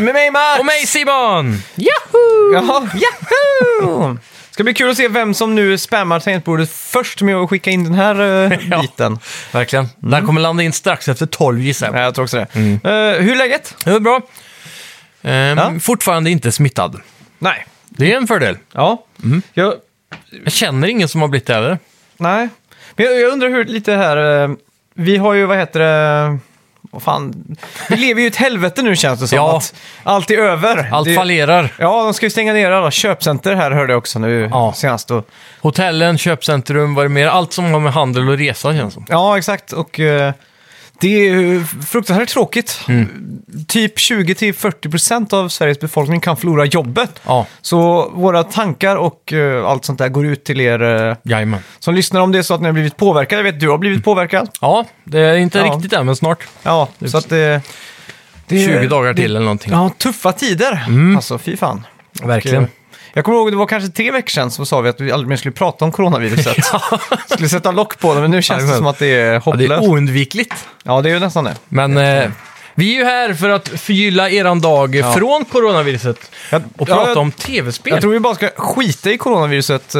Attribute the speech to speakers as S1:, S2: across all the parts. S1: Med mig Max!
S2: Och mig Simon!
S1: Yahoo! Jaha, yahoo! Ska bli kul att se vem som nu spammar tangentbordet först med att skicka in den här eh,
S2: Ja.
S1: biten.
S2: Verkligen. Den kommer landa in strax efter 12 gissar jag.
S1: Nej, jag tror också det.
S2: Mm.
S1: Eh, hur är läget?
S2: Det var bra. Ehm,
S1: Ja.
S2: Fortfarande inte smittad.
S1: Nej.
S2: Det är en fördel.
S1: Ja.
S2: Mm.
S1: Jag,
S2: Jag känner ingen som har blivit det heller.
S1: nej. Men jag, jag undrar hur lite här... eh, vi har ju, vad heter det... Vad fan. Vi lever ju i ett helvete nu känns det som.
S2: Ja.
S1: Att allt är över.
S2: Allt
S1: det,
S2: fallerar.
S1: Ja, de ska ju stänga ner alla köpcenter här hörde jag också nu
S2: Ja.
S1: senast. Och,
S2: Hotellen, köpcentrum, vad är det mer? Allt som har med handel och resa känns som.
S1: ja, exakt. Och eh, det är ju fruktansvärt tråkigt.
S2: Mm.
S1: Typ 20-40% av Sveriges befolkning kan förlora jobbet.
S2: Ja,
S1: Så våra tankar och eh, allt sånt där går ut till er eh,
S2: jajamän.
S1: som lyssnar om det är så att ni har blivit påverkade. Jag vet du har blivit påverkad.
S2: Ja, det är inte
S1: Ja.
S2: riktigt än, men snart.
S1: Ja, så att det... det är-
S2: 20 dagar till
S1: Det,
S2: eller någonting.
S1: ja, tuffa tider. Alltså, fy fan.
S2: Verkligen.
S1: Och, eh, Jag kommer ihåg, det var kanske tre veckor sedan så sa vi att vi aldrig mer skulle prata om coronaviruset. Skulle sätta lock på det, men nu känns det
S2: Jajamän.
S1: som att det är
S2: Ja, det
S1: hopplöst.
S2: är oundvikligt.
S1: Ja, det är ju nästan det.
S2: Men eh, vi är ju här för att förgylla eran dag från coronaviruset
S1: Jag,
S2: och
S1: ja,
S2: prata
S1: jag,
S2: om tv-spel.
S1: Jag tror vi bara ska skita i coronaviruset eh,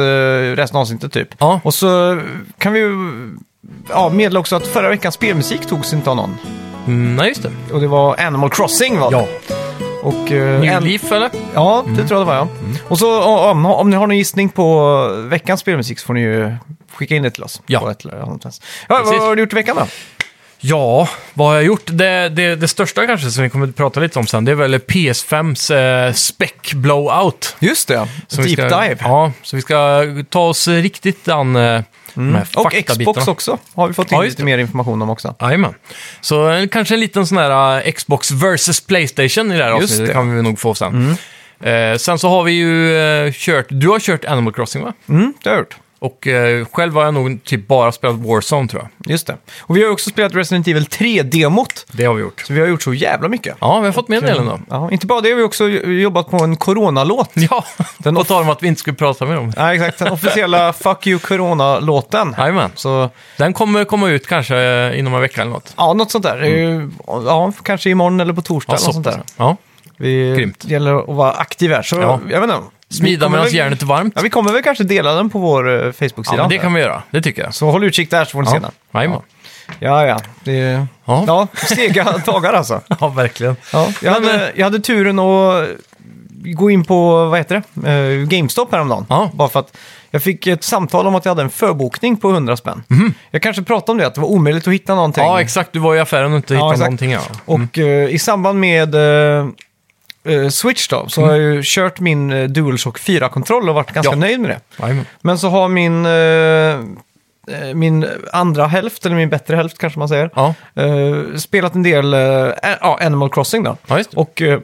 S1: resten av avsnittet typ.
S2: Ja.
S1: Och så kan vi ju ja, meddela också att förra veckans spelmusik togs inte av någon.
S2: Mm, nej, just det.
S1: Och det var Animal Crossing var det.
S2: Ja. Mm.
S1: Och, eh,
S2: New
S1: en-
S2: Leaf, eller?
S1: Ja, det tror jag det var ja. Och så o- om, om ni har någon gissning på veckans spelmusik så får ni ju skicka in det till oss.
S2: Ja.
S1: På ett eller annat sätt. ja vad
S2: Precis.
S1: har du gjort i veckan då?
S2: Ja, vad har jag gjort? Det, det, det största kanske som vi kommer att prata lite om sen, det är väl PS5s eh, spec blowout.
S1: Just det,
S2: Som
S1: Deep
S2: vi ska,
S1: Dive.
S2: Ja, så vi ska ta oss riktigt an eh, de här
S1: Mm. Och
S2: faktabitarna.
S1: Xbox också har vi fått in
S2: Ja, just
S1: lite mer information om också.
S2: Jajamän. Så eh, kanske en liten sån här eh, Xbox versus Playstation i det här
S1: Just
S2: avsnittet
S1: det. Mm.
S2: kan vi nog få sen. Eh, sen så har vi ju eh, kört, du har kört Animal Crossing va?
S1: Mm, det har jag gjort.
S2: Och eh, själv har jag nog typ bara spelat Warzone tror jag.
S1: Just det. Och vi har ju också spelat Resident Evil 3-demot.
S2: Det har vi gjort.
S1: Så vi har gjort så jävla mycket.
S2: Ja, vi har fått med en del ändå.
S1: Ja, inte bara det, vi har också jobbat på en coronalåt.
S2: Ja,
S1: Den
S2: på tal om att vi inte skulle prata med dem.
S1: Ja, exakt. Den officiella Fuck You Corona-låten.
S2: Jajamän.
S1: Så,
S2: Den kommer komma ut kanske eh, inom en vecka eller något.
S1: ja, något sånt där. Ja, kanske imorgon eller på torsdag. eller
S2: så
S1: något sånt där.
S2: pass. Mm. Alltså, ja.
S1: Vi,
S2: Grymt.
S1: Det gäller att vara aktiv här, så
S2: Ja.
S1: jag vet inte. Vi
S2: Smida
S1: kommer
S2: medan
S1: väl-
S2: järnet är varmt.
S1: Ja, vi kommer väl kanske dela den på vår eh,
S2: Ja,
S1: Facebook-sida.
S2: men det kan vi göra. Det tycker jag.
S1: Så håll utkik där så får ni se den.
S2: Jajamän.
S1: Ja, ja. Det är...
S2: Ja.
S1: Ja, stega dagar alltså.
S2: ja, verkligen.
S1: Ja, jag,
S2: Men, eh,
S1: hade, jag hade turen att eh, gå in på, vad heter det, Eh, GameStop häromdagen.
S2: Ja.
S1: Bara för att jag fick ett samtal om att jag hade en förbokning på 100 spänn. Jag kanske pratade om det, att det var omöjligt att hitta någonting.
S2: Mhm. Ja, mm. exakt. Du var i affären och inte
S1: Ja,
S2: hittade
S1: exakt.
S2: någonting. Ja.
S1: Och eh, i samband med eh, eh, Switch då, så har jag ju kört min eh, DualShock 4-kontroll och varit ganska
S2: Ja.
S1: nöjd med det.
S2: Jajamän.
S1: Men så har min, eh, eh, min andra hälft, eller min bättre hälft kanske man säger,
S2: Ja.
S1: eh, spelat en del eh, ä- ja, Animal Crossing då.
S2: ja, just det.
S1: Och eh,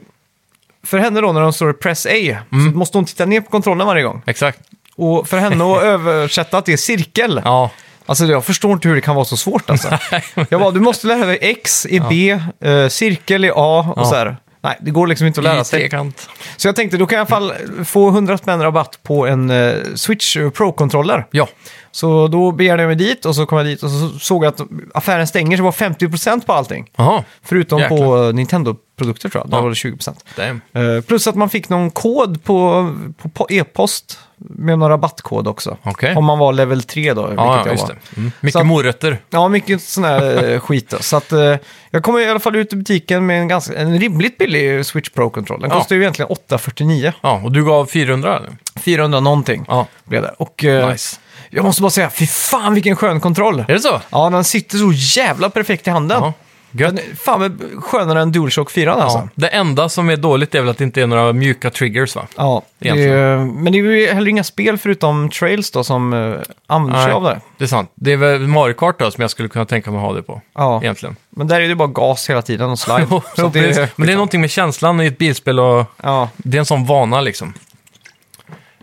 S1: för henne då när de står i press A, så
S2: Mm.
S1: måste hon titta ner på kontrollen varje gång.
S2: Exakt.
S1: Och för henne att översätta att det är cirkel.
S2: Ja,
S1: Alltså jag förstår inte hur det kan vara så svårt alltså. jag bara, du måste lära dig X i B, eh, cirkel i A och
S2: Ja.
S1: så här. Nej, det går liksom inte att lära
S2: i
S1: sig.
S2: trekant.
S1: Så jag tänkte, då kan jag i alla fall få 100 spänn rabatt på en eh, Switch Pro-controller.
S2: Ja,
S1: Så då begärde jag mig dit och så kom jag dit och så såg jag att affären stänger så det var 50% på allting.
S2: jaha.
S1: Förutom på
S2: Jäklar.
S1: eh, Nintendo-produkter tror jag, där
S2: Ja.
S1: var det 20%.
S2: Damn.
S1: Eh, Plus att man fick någon kod på, på, po- e-post med någon rabattkod också.
S2: Okej.
S1: Om man var level 3 då, vilket
S2: Ja, ja,
S1: jag
S2: just
S1: var.
S2: det. Mm. Mycket
S1: Så att-
S2: morötter.
S1: Ja, mycket sån här eh, skit. Då. Så att, eh, jag kommer i alla fall ut i butiken med en, ganska, en rimligt billig Switch Pro-kontroll. Den
S2: Ja.
S1: kostar ju egentligen 849.
S2: Ja, och du gav 400 eller?
S1: 400 någonting
S2: Ja,
S1: blev det. Och eh,
S2: nice.
S1: jag måste bara säga, fy fan vilken skön kontroll.
S2: Är det så?
S1: Ja, den sitter så jävla perfekt i handen.
S2: Ja. Gött.
S1: Den är fan med skönare än DualShock 4 alltså.
S2: Ja. Det enda som är dåligt är väl att det inte är några mjuka triggers va?
S1: Ja, det är, men det är ju heller inga spel förutom Trails då som uh, använder sig
S2: Nej.
S1: av det.
S2: Det är sant. Det är väl Mario Kart då som jag skulle kunna tänka mig att ha det på.
S1: Ja.
S2: Egentligen.
S1: Men där är det bara gas hela tiden och slide. så att
S2: Precis.
S1: det,
S2: Men det är någonting med känslan i ett bilspel och
S1: ja,
S2: det är en sån vana liksom.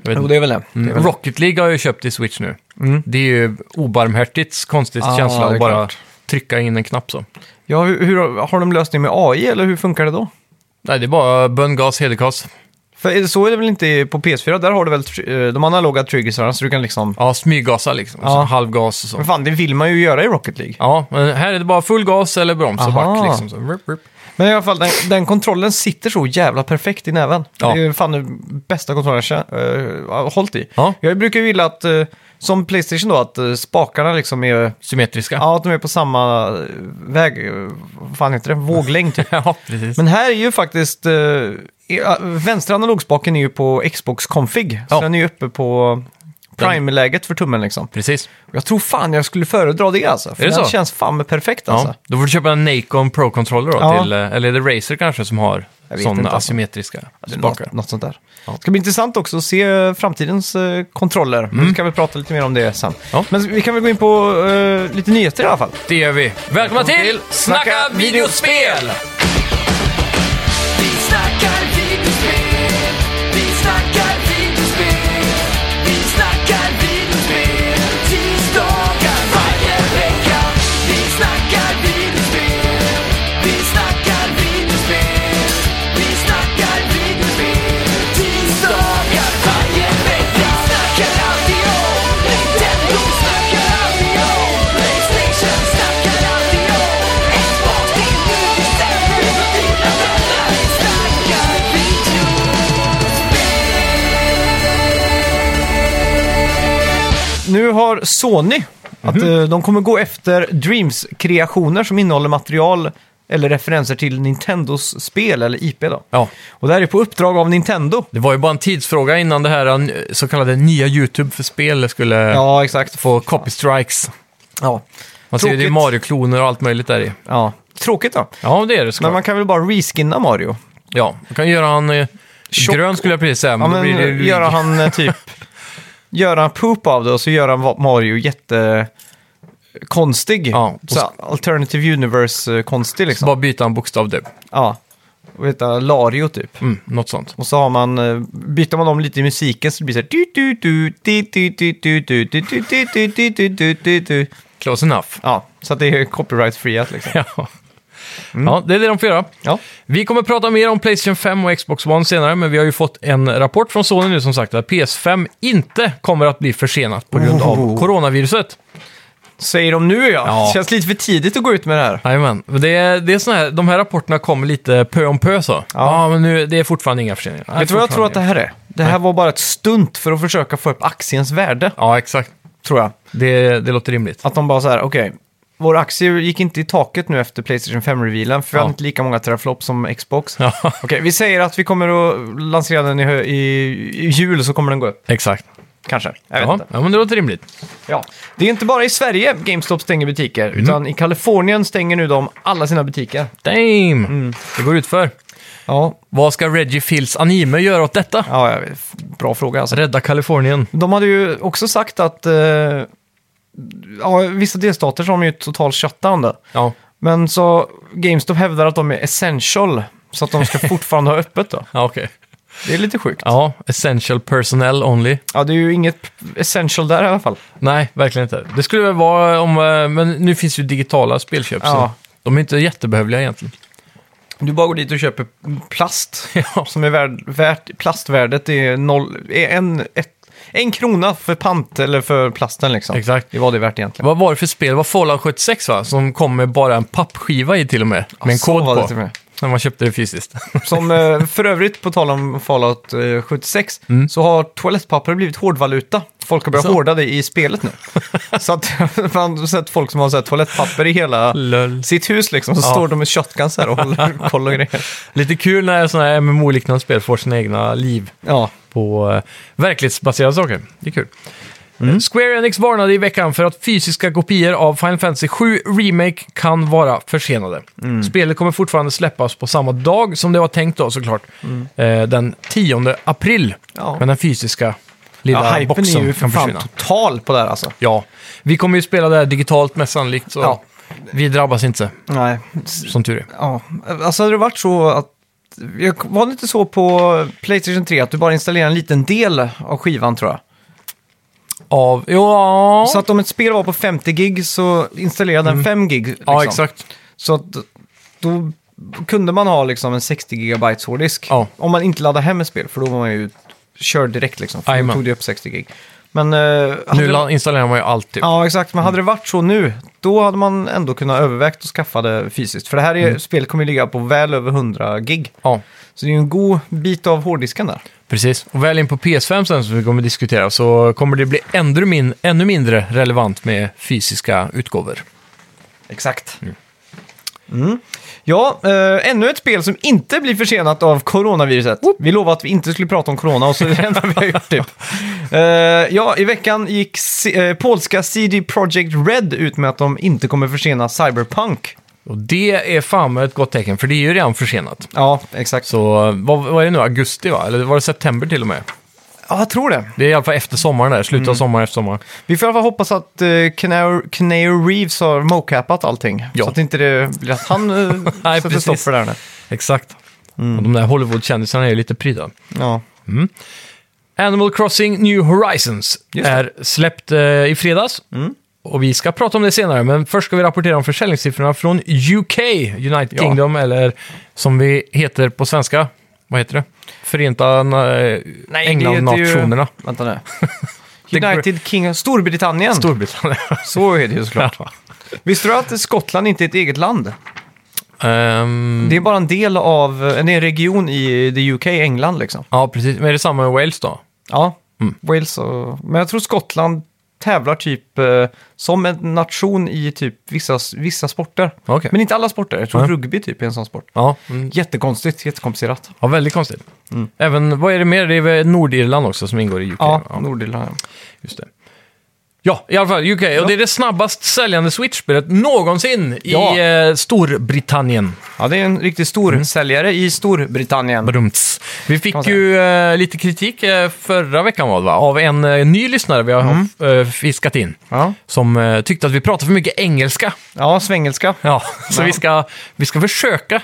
S2: Jag vet
S1: jo,
S2: inte.
S1: det är väl det. det, är väl
S2: Mm.
S1: det.
S2: Rocket League har jag ju köpt i Switch nu. Det är ju obarmhärtigt konstigt
S1: Ja,
S2: känsla
S1: det är
S2: att bara
S1: klart.
S2: trycka in en knapp så.
S1: Ja, hur, hur, har de löst det med AI eller hur funkar det då?
S2: Nej, det är bara bön, gas, hederkas.
S1: För är det så är det väl inte på PS4? Där har du väl tr- eh, de analoga triggersarna så du kan liksom...
S2: Ja, smyggasa liksom.
S1: Ja.
S2: Så halvgas och så.
S1: Men fan, det vill man ju göra i Rocket League.
S2: Ja, men här är det bara full gas eller broms och
S1: Aha.
S2: back liksom. Så, rup, rup.
S1: Men i alla fall, den, den kontrollen sitter så jävla perfekt i näven.
S2: Ja.
S1: Det är fan den bästa kontrollen jag uh, har hållit i.
S2: Ja.
S1: Jag brukar ju vilja att, eh, som Playstation då, att eh, spakarna liksom är...
S2: Symmetriska.
S1: Ja, att de är på samma eh, väg, eh, vad fan heter det? Våglängd typ.
S2: ja precis.
S1: Men här är ju faktiskt... eh, i- ja, vänstra analogspaken är ju på Xbox config, så
S2: Ja.
S1: den är ju uppe på prime-läget för tummen liksom.
S2: precis.
S1: Jag tror fan jag skulle föredra det alltså, för
S2: Är det
S1: den
S2: så?
S1: känns fan med perfekt alltså.
S2: Ja. Då får du köpa en Nacon Pro Controller då,
S1: Ja.
S2: till, eh, eller är det Razer kanske som har
S1: Jag vet
S2: sådana
S1: inte, alltså.
S2: asymmetriska
S1: Eller
S2: spakar.
S1: Något, något sånt där.
S2: Ja.
S1: Det ska bli intressant också att se eh, framtidens eh, kontroller. Vi kan väl prata lite mer om det sen.
S2: Mm. Ja.
S1: Men vi kan väl gå in på eh, lite nyheter i alla fall.
S2: Det gör vi. Välkomna till
S1: till
S2: Snacka
S1: Snacka
S2: videospel!
S3: Vi snackar videospel, vi snackar videospel, vi snackar videospel, tisdagar varje vecka. Vi snackar videospel, vi snackar videospel, vi snackar videospel, tisdagar varje vecka. Vi snackar alltid om Nintendo, snackar alltid om Playstation, snackar alltid om Xbox, det är nu vi sänder dina vänner. Vi snackar video.
S1: Nu har Sony, att
S2: Mhm.
S1: eh, de kommer gå efter Dreams-kreationer som innehåller material eller referenser till Nintendos spel eller IP då.
S2: Ja.
S1: Och det här är på uppdrag av Nintendo.
S2: Det var ju bara en tidsfråga innan det här eh, så kallade nya YouTube för spel skulle
S1: Ja, exakt.
S2: få copy strikes.
S1: Ja.
S2: Man ser ju det är
S1: Tråkigt.
S2: Mario-kloner och allt möjligt där i.
S1: ja. Tråkigt då.
S2: Ja, det är det
S1: Men
S2: såklart.
S1: man kan väl bara reskinna Mario?
S2: Ja, man kan göra han eh,
S1: Tjock-
S2: grön skulle jag precis säga,
S1: Ja,
S2: men, Mm, då
S1: men
S2: blir det ju-
S1: göra han eh, typ... göra en poop av det och så göra en va- Mario jätte... eh, Konstig.
S2: Ja, och
S1: så alternative universe-konstig liksom.
S2: bara byta en bokstav typ.
S1: Ja. Och heta Lario typ.
S2: Mm, något sånt.
S1: Och så har man, eh, byter man om lite i musiken så det blir så här... du, du, du, di, di, di, du, du, du, du, du, du, du, du, du, du, du.
S2: Close enough.
S1: Ja, så att det är copyright-friat liksom.
S2: Ja. ja, det är det de får göra.
S1: Mm. Ja.
S2: Vi kommer prata mer om Playstation 5 och Xbox One senare, men vi har ju fått en rapport från Sony nu som sagt att PS5 inte kommer att bli försenat på grund av
S1: Oh.
S2: coronaviruset.
S1: Säger de nu ja.
S2: Ja.
S1: Det känns lite för tidigt att gå ut med det här.
S2: Jajamän, Men det är, det är såna här, de här rapporterna kommer lite pö om pö så. Ja, men nu, det är fortfarande inga förseningar. Nej,
S1: Vet du vad jag
S2: fortfarande
S1: tror att det
S2: inga.
S1: här är? Det här var bara ett stunt för att försöka få upp aktiens värde,
S2: Ja, exakt.
S1: tror jag.
S2: Det, det låter rimligt.
S1: Att de bara så här, okej, vår aktie gick inte i taket nu efter Playstation 5-revealen, för vi
S2: Ja.
S1: hade inte lika många teraflops som Xbox.
S2: Ja,
S1: Okej, vi säger att vi kommer att lansera den i, hö- i, i jul så kommer den gå upp,
S2: exakt.
S1: kanske. Jag vet
S2: Ja,
S1: inte.
S2: ja, men det låter rimligt.
S1: Ja. Det är inte bara i Sverige GameStop stänger butiker, utan i Kalifornien stänger nu de alla sina butiker.
S2: Damn!
S1: Mm.
S2: Det går ut för.
S1: Ja,
S2: Vad ska Reggie Fils anime göra åt detta?
S1: ja jag vet. bra fråga alltså.
S2: Rädda Kalifornien.
S1: De hade ju också sagt att eh, ja, vissa delstater som ju total shutdown där.
S2: Ja,
S1: Men så GameStop hävdar att de är essential, så att de ska fortfarande ha öppet då.
S2: ja okej.
S1: Det är lite sjukt.
S2: Ja, essential personnel only.
S1: Ja, det är ju inget essential där i alla fall.
S2: Nej, verkligen inte. Det skulle väl vara om... eh, Men nu finns ju digitala spelköp,
S1: Ja.
S2: så de är inte jättebehövliga egentligen.
S1: Du bara går dit och köper plast,
S2: Ja.
S1: som är värd, värt, plastvärdet är, noll, är en, ett, en krona för pant, eller för plasten liksom.
S2: Exakt.
S1: Det var det värt egentligen.
S2: Vad var det för spel? Det var Fallout 76, va? Som kom med bara en pappskiva i till och med. Med en
S1: så
S2: kod
S1: var det
S2: på.
S1: till och med.
S2: När man köpte det fysiskt.
S1: Som eh, för övrigt, på tal om Fallout eh, 76,
S2: Mm.
S1: så har toalettpapper blivit hårdvaluta. Folk har börjat
S2: Så.
S1: hårda det i spelet nu. så att man har sett folk som har så här, toalettpapper i hela
S2: Lol.
S1: sitt hus liksom. Så
S2: Ja.
S1: står de med shotguns här och håller koll och grejer.
S2: Lite kul när sådana här MMO-liknande spel får sina egna liv
S1: Ja,
S2: på eh, verklighetsbaserade saker. Det är kul.
S1: Mm.
S2: Eh, Square Enix varnade i veckan för att fysiska kopior av Final Fantasy 7 Remake kan vara försenade.
S1: Mm.
S2: Spelet kommer fortfarande släppas på samma dag som det var tänkt då såklart. Eh, den 10 april.
S1: Mm. Ja.
S2: Men den fysiska
S1: ja
S2: lilla
S1: hypen är
S2: boxen
S1: ju för
S2: kan
S1: fan
S2: försvinna.
S1: total på det här alltså.
S2: Ja, vi kommer ju spela det här digitalt mest sannolikt. Så
S1: Ja.
S2: Vi drabbas inte,
S1: Nej,
S2: som tur är.
S1: ja. Alltså hade det varit så att... Jag var det inte så på Playstation 3 att du bara installerar en liten del av skivan tror jag?
S2: Av... Ja, Mm.
S1: Så att om ett spel var på 50 gig så installerade den 5 gig. Liksom.
S2: ja exakt.
S1: Så att då kunde man ha liksom en 60 gigabytes hårddisk.
S2: Ja.
S1: Om man inte laddade hem ett spel, för då var man ju körd direkt liksom. För då
S2: Jajamän.
S1: tog det upp 60 gig. Men, eh, hade
S2: Nu
S1: det-
S2: la- installerar man ju allt typ.
S1: Ja, exakt. Men hade det varit så nu, då hade man ändå kunnat övervägt att skaffa det fysiskt. För det här är,
S2: Mm.
S1: spelet kommer ju ligga på väl över 100 gig.
S2: Ja,
S1: Så det är ju en god bit av hårddisken där.
S2: precis. Och väl in på PS5 sen som vi kommer diskutera så kommer det bli ännu, min ännu mindre relevant med fysiska utgåvor.
S1: Exakt. Mm. Ja, eh, ännu ett spel som inte blir försenat av coronaviruset. Vi lovade att vi inte skulle prata om corona och så är det det enda vi har gjort typ. Eh, ja, i veckan gick C- eh, polska CD Projekt Red ut med att de inte kommer försena Cyberpunk.
S2: Och det är fan med ett gott tecken, för det är ju redan försenat.
S1: Ja, exakt.
S2: Så eh, vad, vad är det nu, augusti va? Eller var det september till och med?
S1: Ja, jag tror det.
S2: Det är i alla fall efter sommaren där, slutet av sommaren, efter sommaren.
S1: Vi får i alla fall hoppas att uh, Canary Reeves har mocapat allting.
S2: Ja.
S1: Så att inte det blir att han eh,
S2: Nej,
S1: sätter
S2: precis.
S1: stopp för det här nu.
S2: Exakt. Och de där Hollywood-kändisarna är ju lite pryda.
S1: Ja.
S2: Animal Crossing New Horizons
S1: Just det. Mm.
S2: är släppt eh, i fredags. Och vi ska prata om det senare, men först ska vi rapportera om försäljningssiffrorna från UK, United
S1: Ja.
S2: Kingdom, eller som vi heter på svenska, vad heter det? Förenta eh,
S1: Nej,
S2: England-nationerna.
S1: Det heter ju... Vänta
S2: The
S1: nu.
S2: Gr-
S1: United Kingdom, Storbritannien.
S2: Storbritannien.
S1: Så är det ju såklart. Visste du att Skottland inte är ett eget land?
S2: Ehm,
S1: Det är bara en del av, det är en region i the UK, England liksom.
S2: Ja, precis. Men är det samma med Wales då?
S1: Ja,
S2: Mm.
S1: Wales och... Men jag tror Skottland tävlar typ eh, som en nation i typ vissa, vissa sporter.
S2: Okej.
S1: Men inte alla sporter. Jag tror
S2: Nej.
S1: rugby typ är en sån sport.
S2: Ja, mm.
S1: Jättekonstigt, jättekomplicerat.
S2: ja väldigt konstigt. Även, vad är det mer? Det är väl Nordirland också som ingår i UK?
S1: Mm. Ja,
S2: Ja.
S1: Nordirland.
S2: Just det. Ja, i alla fall UK. Och det är det snabbast säljande Switch-spelet någonsin
S1: Ja.
S2: i eh, Storbritannien.
S1: Ja, det är en riktig stor
S2: Mm.
S1: säljare i Storbritannien.
S2: Brumts. Vi
S1: man
S2: fick
S1: säga.
S2: ju eh, lite kritik eh, förra veckan var det, va? av en eh, ny lyssnare vi har
S1: Mm.
S2: eh, fiskat in.
S1: Ja.
S2: Som eh, tyckte att vi pratade för mycket engelska.
S1: ja, svengelska.
S2: Ja, så
S1: Ja.
S2: Vi, ska, vi ska försöka.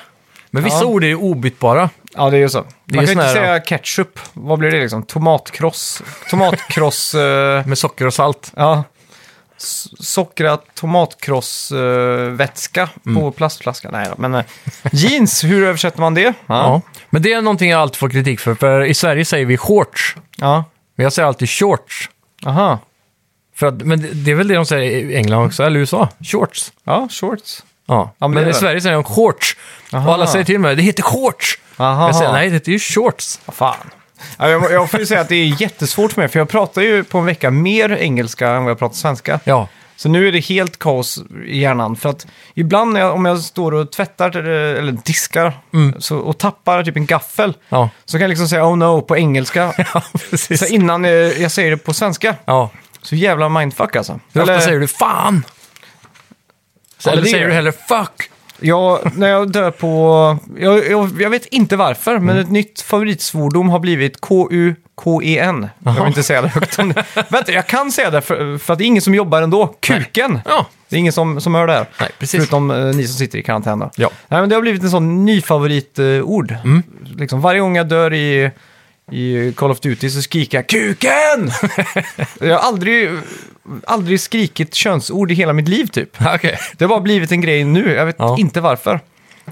S2: Men vissa
S1: Ja.
S2: ord är ju obytbara.
S1: Ja, det är ju så.
S2: är
S1: Man kan ju
S2: sån
S1: inte
S2: här,
S1: säga ketchup. Vad blir det liksom? Tomatkross. Tomatkross... eh,
S2: Med socker och salt.
S1: ja. S- Sockrat tomatkrossvätska på plastflaska. Nej då, men eh, jeans, hur översätter man det? Ja.
S2: Ja. Men det är någonting jag alltid får kritik för. För i Sverige säger vi shorts.
S1: ja.
S2: Men jag säger alltid shorts.
S1: Aha.
S2: För att, men det- det är väl det de säger i England också, eller USA? Shorts.
S1: Ja, shorts.
S2: Ja,
S1: men
S2: men,
S1: det är
S2: i
S1: det.
S2: Sverige säger de shorts. Och alla säger till mig, det heter shorts.
S1: Aha.
S2: Jag säger, nej, det heter ju shorts.
S1: Vad fan. Ja, jag, jag får ju säga att det är jättesvårt för mig, för jag pratar ju på en vecka mer engelska än vad jag pratar svenska.
S2: Ja,
S1: Så nu är det helt kaos i hjärnan. För att ibland när jag, om jag står och tvättar eh, eller diskar så, och tappar typ en gaffel
S2: Mm. ja,
S1: så kan jag liksom säga oh no på engelska.
S2: ja precis.
S1: så innan eh, jag säger det på svenska.
S2: ja.
S1: Så jävla mindfuck alltså.
S2: Hur ofta
S1: Eller-
S2: säger du fan?
S1: Ja,
S2: eller
S1: det är-
S2: säger du hellre fuck?
S1: Jag, när jag dör på... Jag, jag, jag vet inte varför, men
S2: Mm.
S1: ett nytt favoritsvordom har blivit K-U-K-E-N. E Jag vill inte säga det högt. om det. Vänta, jag kan säga det för, för att det är ingen som jobbar ändå. Kuken!
S2: Ja,
S1: Det är ingen som, som hör det här.
S2: Nej, precis.
S1: Förutom eh, ni som sitter i karantän då.
S2: Ja. Mm.
S1: Nej, men det har blivit en sån ny favoritord. Liksom, varje gång jag dör i, i Call of Duty så skriker jag KUKEN! jag har aldrig, aldrig skrikit könsord i hela mitt liv typ.
S2: okej.
S1: Det har bara blivit en grej nu, jag vet
S2: Ja.
S1: inte varför.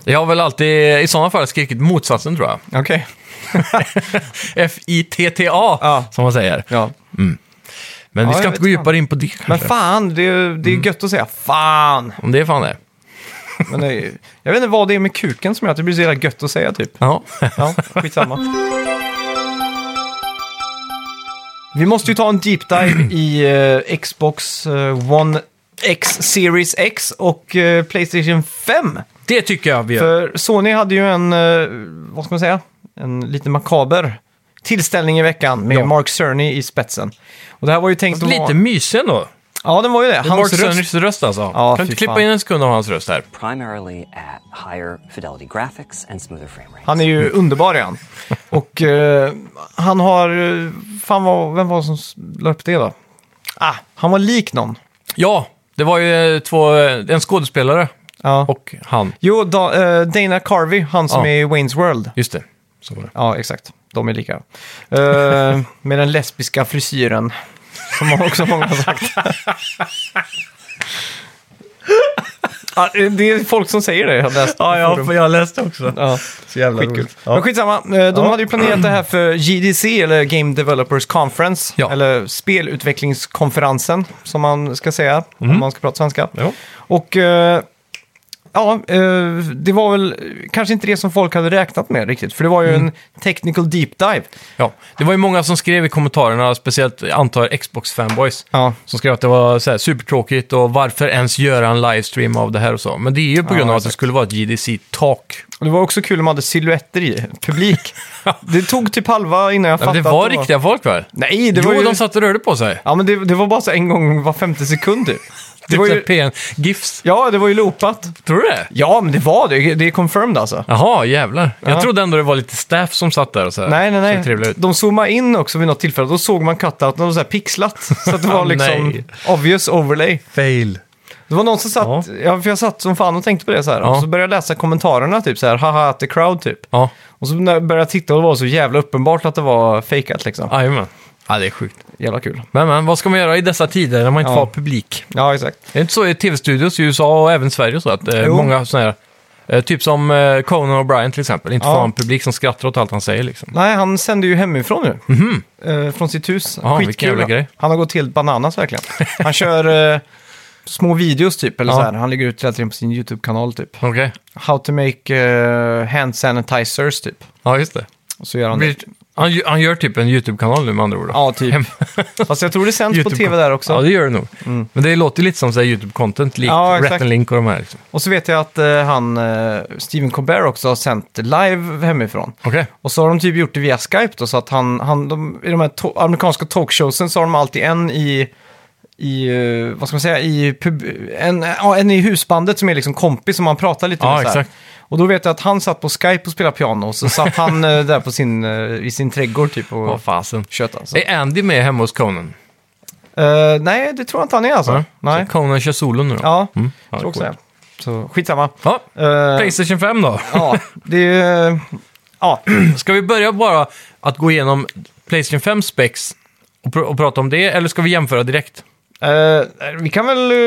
S2: Jag har väl alltid i sådana fall skrikit motsatsen tror jag.
S1: Okej.
S2: F-I-T-T-A,
S1: Ja.
S2: som man säger.
S1: Ja.
S2: Men vi
S1: Ja,
S2: ska
S1: jag
S2: inte
S1: vet
S2: gå
S1: fan.
S2: djupare in på det kanske.
S1: Men fan, det är, det är gött att säga fan.
S2: Om det är fan det.
S1: Men det är, jag vet inte vad det är med kuken som gör att det blir så jävla gött att säga typ.
S2: Ja.
S1: Ja, skitsamma. Vi måste ju ta en deep dive i eh, Xbox eh, One X Series X och eh, Playstation 5.
S2: Det tycker jag vi gör.
S1: För Sony hade ju en, eh, vad ska man säga, en lite makaber tillställning i veckan med
S2: Ja.
S1: Mark Cerny i spetsen. Och det här var ju tänkt att
S2: Lite
S1: vara...
S2: mysig ändå.
S1: Ja, den var ju det.
S2: Hans
S1: Hans
S2: Mark
S1: röst.
S2: Senners röst alltså.
S1: Ja,
S2: kan du
S1: fy
S2: inte klippa
S1: fan.
S2: in en sekund av hans röst här?
S4: primarily at higher fidelity graphics and smoother frame rate.
S1: Han är ju underbar är han. Och eh, han har... eh, Fan, vad, vem var det som s- la upp det då? Ah, han var lik någon.
S2: Ja, det var ju eh, två, eh, en skådespelare
S1: Ja.
S2: och han.
S1: Jo, da, eh, Dana Carvey, han som
S2: Ja.
S1: är i Wayne's World.
S2: Just det. Så var det.
S1: Ja, exakt. De är lika. Eh, med den lesbiska frisyren. Som också många har sagt. Ja, eh, det är folk som säger det. Jag har läst på forum.
S2: jag läste också.
S1: ja.
S2: Så jävla
S1: Skitkul.
S2: roligt.
S1: Men
S2: Ja.
S1: skitsamma, eh, de hade ju planerat det här för GDC, eller Game Developers Conference,
S2: Ja.
S1: eller spelutvecklingskonferensen, som man ska säga, om man ska prata svenska.
S2: Mhm. Ja.
S1: Och eh, ja, eh, det var väl kanske inte det som folk hade räknat med riktigt, för det var ju
S2: Mm.
S1: en technical deep dive.
S2: Ja. Det var ju många som skrev i kommentarerna, speciellt jag antar Xbox-fanboys,
S1: Ja.
S2: som skrev att det var så här, supertråkigt och varför ens göra en livestream av det här och så. Men det är ju på
S1: Ja,
S2: grund av att det
S1: exakt.
S2: skulle vara ett GDC-tak.
S1: Och det var också kul om man hade silhuetter i, publik. det tog typ halva innan jag
S2: Ja, men
S1: fattade.
S2: det
S1: att
S2: var riktiga folk väl?
S1: Nej, det
S2: jo,
S1: var ju...
S2: de satt och rörde på sig.
S1: Ja, men det, det var bara så en gång var femte sekund typ.
S2: Det
S1: Det var ju...
S2: PN. GIFs.
S1: Ja, det var ju loopat.
S2: Tror du det?
S1: Ja, men det var det. Det är confirmed alltså.
S2: Jaha, jävlar. Jag
S1: Ja.
S2: trodde ändå det var lite staff som satt där och så här.
S1: Nej, nej,
S2: Såg trevliga
S1: nej.
S2: ut.
S1: De zoomade in också vid något tillfälle. Då såg man cutouten och så här pixlat. Så att det var liksom
S2: Nej.
S1: obvious overlay.
S2: Fail.
S1: Det var någon som satt, ja. för jag satt som fan och tänkte på det så här.
S2: Ja.
S1: Och så började jag läsa kommentarerna typ så här, haha at the crowd typ.
S2: Ja,
S1: Och så när jag började jag titta och det var så jävla uppenbart att det var fejkat liksom.
S2: jajamän. Ja, det är sjukt.
S1: Jävla kul.
S2: Men, men vad ska man göra i dessa tider när man inte
S1: Ja.
S2: får ha publik?
S1: Ja, exakt.
S2: Är det inte så i tv-studios i USA och även Sverige och så att eh,
S1: Jo.
S2: många sådana här, eh, typ som eh, Conan O'Brien till exempel, inte
S1: Ja.
S2: får ha en publik som skrattar åt allt han säger liksom.
S1: Nej, han sände ju hemifrån nu. Eh, från sitt hus.
S2: Mhm. Ja, vilken jävla grej.
S1: Han har gått helt bananas verkligen. Han kör eh, små videos typ, eller
S2: Ja.
S1: så här. Han lägger ut hela tiden på sin YouTube-kanal typ.
S2: Okej.
S1: How to make eh, hand sanitizers typ.
S2: Ja, just det.
S1: Och så gör han
S2: Blir,
S1: det.
S2: han, ju- han gör typ en YouTube-kanal nu med andra ord. då.
S1: Ja, typ.
S2: Hem-
S1: Fast jag tror det sänds på
S2: YouTube-
S1: tv där också. Mm.
S2: Ja, det gör det nog. Men det låter lite som så här YouTube-content, likt
S1: Ja,
S2: ja,
S1: exakt.
S2: Rat Link och de här. Liksom.
S1: Och så vet jag att eh, han, eh, Stephen Colbert också har sänt live hemifrån.
S2: Okej.
S1: Och så har de typ gjort det via Skype då, så att han, han de, i de här to- amerikanska talkshowsen så har de alltid en i, i eh, vad ska man säga, i pub, en, ja, en i husbandet som är liksom kompis som man pratar lite
S2: Ja,
S1: med. Så här.
S2: exakt.
S1: Och då vet jag att han satt på Skype och spelade piano och så satt han eh, där på sin, eh, i sin trädgård typ och
S2: Vad fasen.
S1: tjöt alltså.
S2: Är Andy med hemma hos Conan?
S1: Eh, nej, det tror jag inte han är alltså.
S2: Ja.
S1: Nej.
S2: Så Conan kör solo nu då?
S1: Ja,
S2: Ja,
S1: tror också
S2: cool.
S1: det. Så skitsamma.
S2: Ja,
S1: Eh,
S2: Playstation 5 då?
S1: ja, det är... eh, ja,
S2: Ska vi börja bara att gå igenom Playstation 5 specs och, pr- och prata om det, eller ska vi jämföra direkt?
S1: eh, vi kan väl eh,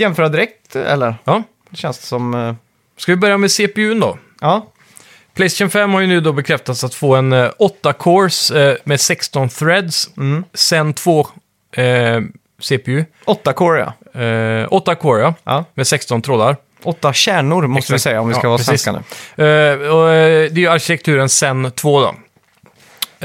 S1: jämföra direkt, eller?
S2: Ja.
S1: Det känns som... eh,
S2: Ska vi börja med CPUn då?
S1: ja.
S2: Playstation 5 har ju nu då bekräftats att få en eh, 8-cores eh, med 16 threads, sen två eh, CPU.
S1: Åtta core, ja.
S2: Eh, 8-core, ja.
S1: ja.
S2: Med 16 trådar.
S1: Åtta kärnor måste vi
S2: Exakt.
S1: säga om vi ska
S2: Ja,
S1: vara
S2: precis.
S1: svenska nu.
S2: Eh, och, eh, det är ju arkitekturen Zen 2 då.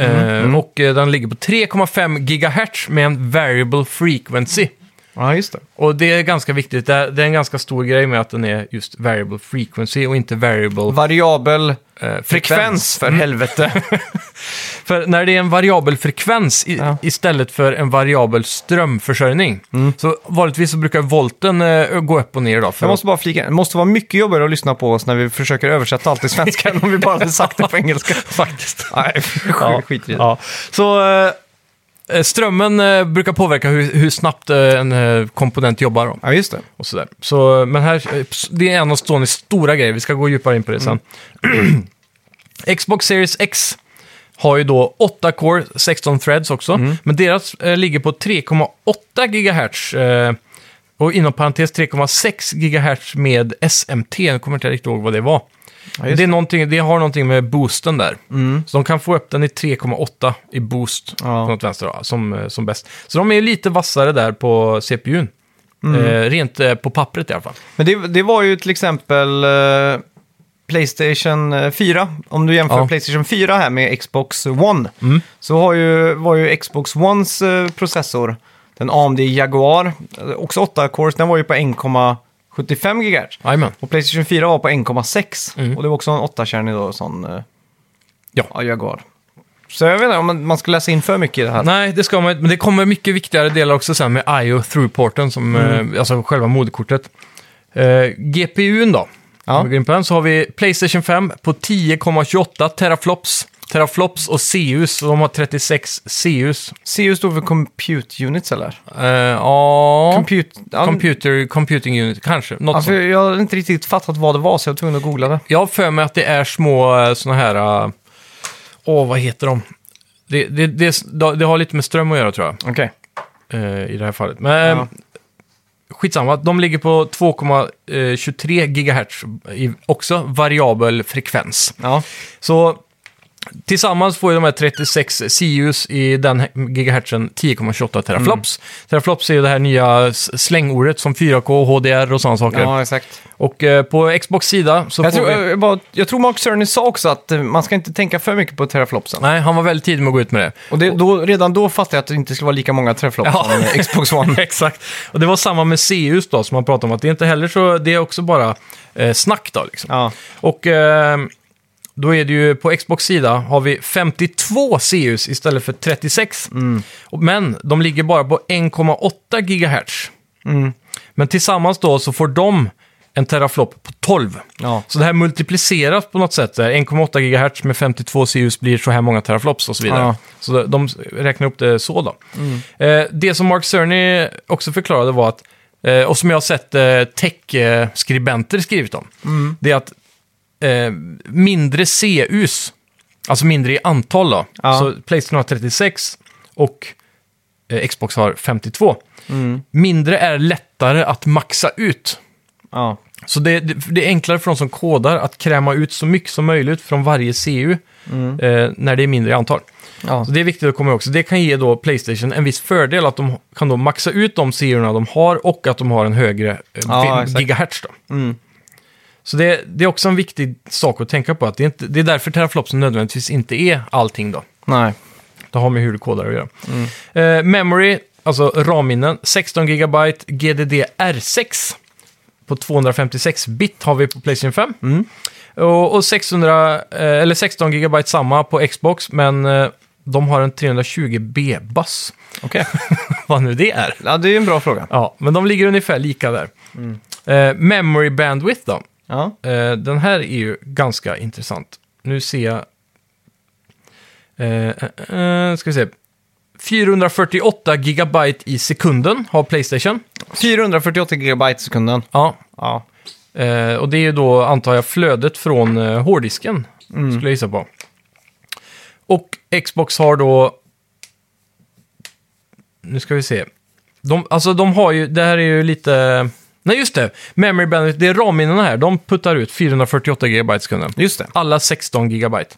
S2: Eh, Och eh, den ligger på 3,5 GHz med en variable frequency.
S1: Ja, just det.
S2: Och det är ganska viktigt. Det är, det är en ganska stor grej med att den är just variable frequency och inte variable
S1: Variabel
S2: eh,
S1: frekvens, Mm. för helvete.
S2: För när det är en variabel frekvens i,
S1: Ja. Mm.
S2: istället för en variabel strömförsörjning. Så vanligtvis så brukar volten eh, gå upp och ner då. För
S1: Jag måste bara flika in. Det måste vara mycket jobbigare att lyssna på oss när vi försöker översätta allt till svenska än om vi bara hade sagt det på engelska.
S2: faktiskt.
S1: Nej,
S2: Ja.
S1: skit i det.
S2: Ja. Så eh, strömmen eh, brukar påverka hur, hur snabbt eh, en eh, komponent jobbar. Då.
S1: Ja, just det.
S2: och sådär. Så, eh, men här, det är en av Sonys stora grejer, vi ska gå djupare in på det sen. Xbox Series X har ju då 8 core, 16 threads också,
S1: Mm.
S2: men deras eh, ligger på 3,8 GHz. Eh, och inom parentes 3,6 GHz med SMT, jag kommer inte riktigt ihåg vad det var.
S1: just Mm.
S2: det, är någonting, det har någonting med boosten där. Så de kan få upp den i 3,8 i boost
S1: Ja.
S2: på något vänster då, som, eh, som bäst. Så de är ju lite vassare där på CPUn.
S1: Mm.
S2: Eh, rent eh, på pappret i alla fall.
S1: Men det, det var ju till exempel eh, Playstation eh, 4. Om du jämför
S2: Ja. Mm.
S1: Playstation 4 här med Xbox One. Så har ju, var ju Xbox Ones eh, processor, den AMD Jaguar, eh, också 8 cores, den var ju på 1,75 GHz.
S2: Jajamän.
S1: Och Playstation 4 var på 1,6. Och det var också en 8-kärnig då, sån eh,
S2: Mm. Ja.
S1: Jaguar. Så jag vet inte om man- man ska läsa in för mycket i det här.
S2: Nej, det ska man inte, men det kommer mycket viktigare delar också sen med IO through-porten, som,
S1: Mm.
S2: eh, alltså själva moderkortet. Eh, GPUn då,
S1: Ja.
S2: om vi går in på den, så har vi Playstation 5 på 10,28 teraflops. Teraflops och CUs, och de har 36 CUs.
S1: CU står för Compute Units eller?
S2: Eh, Ja,
S1: Compute... Ja, Alltså-
S2: computer, computing unit, kanske. Något
S1: ja, för
S2: sånt.
S1: jag har inte riktigt fattat vad det var så jag var tvungen att googla det.
S2: Jag har för mig att det är små eh, såna här, eh, åh vad heter de? Det, det, det, det har lite med ström att göra tror jag.
S1: Okej.
S2: eh, i det här fallet. Men
S1: Ja.
S2: skitsamma, de ligger på 2,23 GHz i också variabel frekvens.
S1: Ja.
S2: Så tillsammans får ju de här 36 CUs i den här gigahertzen 10,28 teraflops.
S1: Mm.
S2: Teraflops är ju det här nya s- slängordet som 4K, HDR och sådana saker.
S1: ja, exakt.
S2: Och eh, på Xbox sida så
S1: Jag
S2: får
S1: tror, eh,
S2: vi...
S1: jag, bara, jag tror Mark Cerny sa också att eh, man ska inte tänka för mycket på teraflopsen.
S2: Nej, han var väldigt tidig med att gå ut med det.
S1: Och det, då, redan då fattade jag att det inte skulle vara lika många teraflops
S2: Ja.
S1: som eh, Xbox One.
S2: Exakt. Och det var samma med CUs då, som man pratade om. Att det är inte heller så... Det är också bara eh, snack då, liksom.
S1: Ja.
S2: Och eh, då är det ju på Xbox sida har vi 52 CUs istället för 36.
S1: Mm.
S2: Och- Men de ligger bara på 1,8 GHz.
S1: Mm.
S2: Men tillsammans då så får de en teraflop på 12.
S1: Ja.
S2: Så det här multipliceras på något sätt. där. 1,8 GHz med 52 CUs blir så här många teraflops och så vidare.
S1: Ja. Mm.
S2: Så de räknar upp det så då. Eh, det som Mark Cerny också förklarade var att, eh, och som jag har sett eh, tech-skribenter skrivit om,
S1: Mm.
S2: det är att eh, mindre CUs, alltså mindre i antal då.
S1: Ja.
S2: Så Playstation har 36 och eh, Xbox har 52.
S1: Mm.
S2: Mindre är lättare att maxa ut.
S1: Ja.
S2: Så det, det, det är enklare för de som kodar att kräma ut så mycket som möjligt från varje CU eh, när det är mindre i antal.
S1: Ja.
S2: Så det är viktigt att komma ihåg också. Det kan ge då Playstation en viss fördel att de kan då maxa ut de serierna de har och att de har en högre eh,
S1: Ja,
S2: vi-
S1: exakt. Mm.
S2: gigahertz. Då. Så det, det är också en viktig sak att tänka på. Att det, är inte, det är därför teraflopsen nödvändigtvis inte är allting. Då.
S1: Nej.
S2: Det har med hur du kodar att göra. Eh, memory, alltså RAM-minnen, 16 GB GDDR6. På 256 bit har vi på Playstation 5. Och, och 600, eh, eller 16 GB samma på Xbox, men eh, de har en 320B-bass.
S1: Okej.
S2: Vad nu det är.
S1: Ja, det är ju en bra fråga.
S2: Ja, men de ligger ungefär lika där. Eh, memory bandwidth då.
S1: Ja.
S2: Eh, den här är ju ganska intressant. Nu ser jag... Eh, eh, eh, ska vi se. 448 gigabyte i sekunden har Playstation.
S1: 448 gigabyte i sekunden.
S2: Ja.
S1: Ja.
S2: Eh, och det är ju då, antar jag, flödet från eh, hårddisken.
S1: Mm.
S2: Skulle jag gissa på. Och Xbox har då... Nu ska vi se. De, alltså de har ju, det här är ju lite... Nej just det, memory bandwidth, det är RAM-minnena här. De puttar ut 448 GB i sekunden.
S1: Just det.
S2: Alla 16 gigabyte.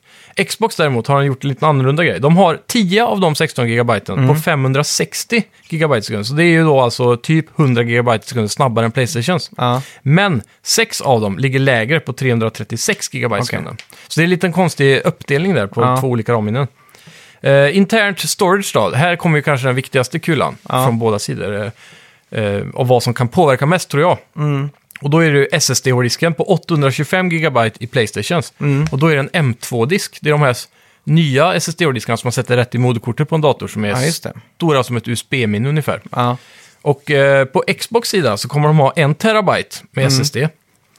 S2: Xbox däremot har gjort en lite annorlunda grej. De har 10 av de 16 gigabyten
S1: Mm.
S2: på 560 gigabyte i sekunden. Så det är ju då alltså typ 100 gigabyte i sekunden snabbare än Playstations.
S1: Ja.
S2: Men 6 av dem ligger lägre på 336 gigabyte i sekunden. Så det är en liten konstig uppdelning där på
S1: Ja.
S2: två olika RAM-minnen. Eh, internt storage då, här kommer ju kanske den viktigaste kulan från båda sidor. eh, Eh, och vad som kan påverka mest tror jag.
S1: Mm.
S2: Och då är det SSD-hårddisken på 825 GB i Playstations.
S1: Mm.
S2: Och då är det en M2-disk. Det är de här s- nya SSD-hårddiskarna som man sätter rätt i moderkortet på en dator som är
S1: Ja, just det.
S2: stora som ett USB-minne ungefär.
S1: Ja.
S2: Och eh, på Xbox sida så kommer de ha en terabyte
S1: Mm.
S2: med SSD.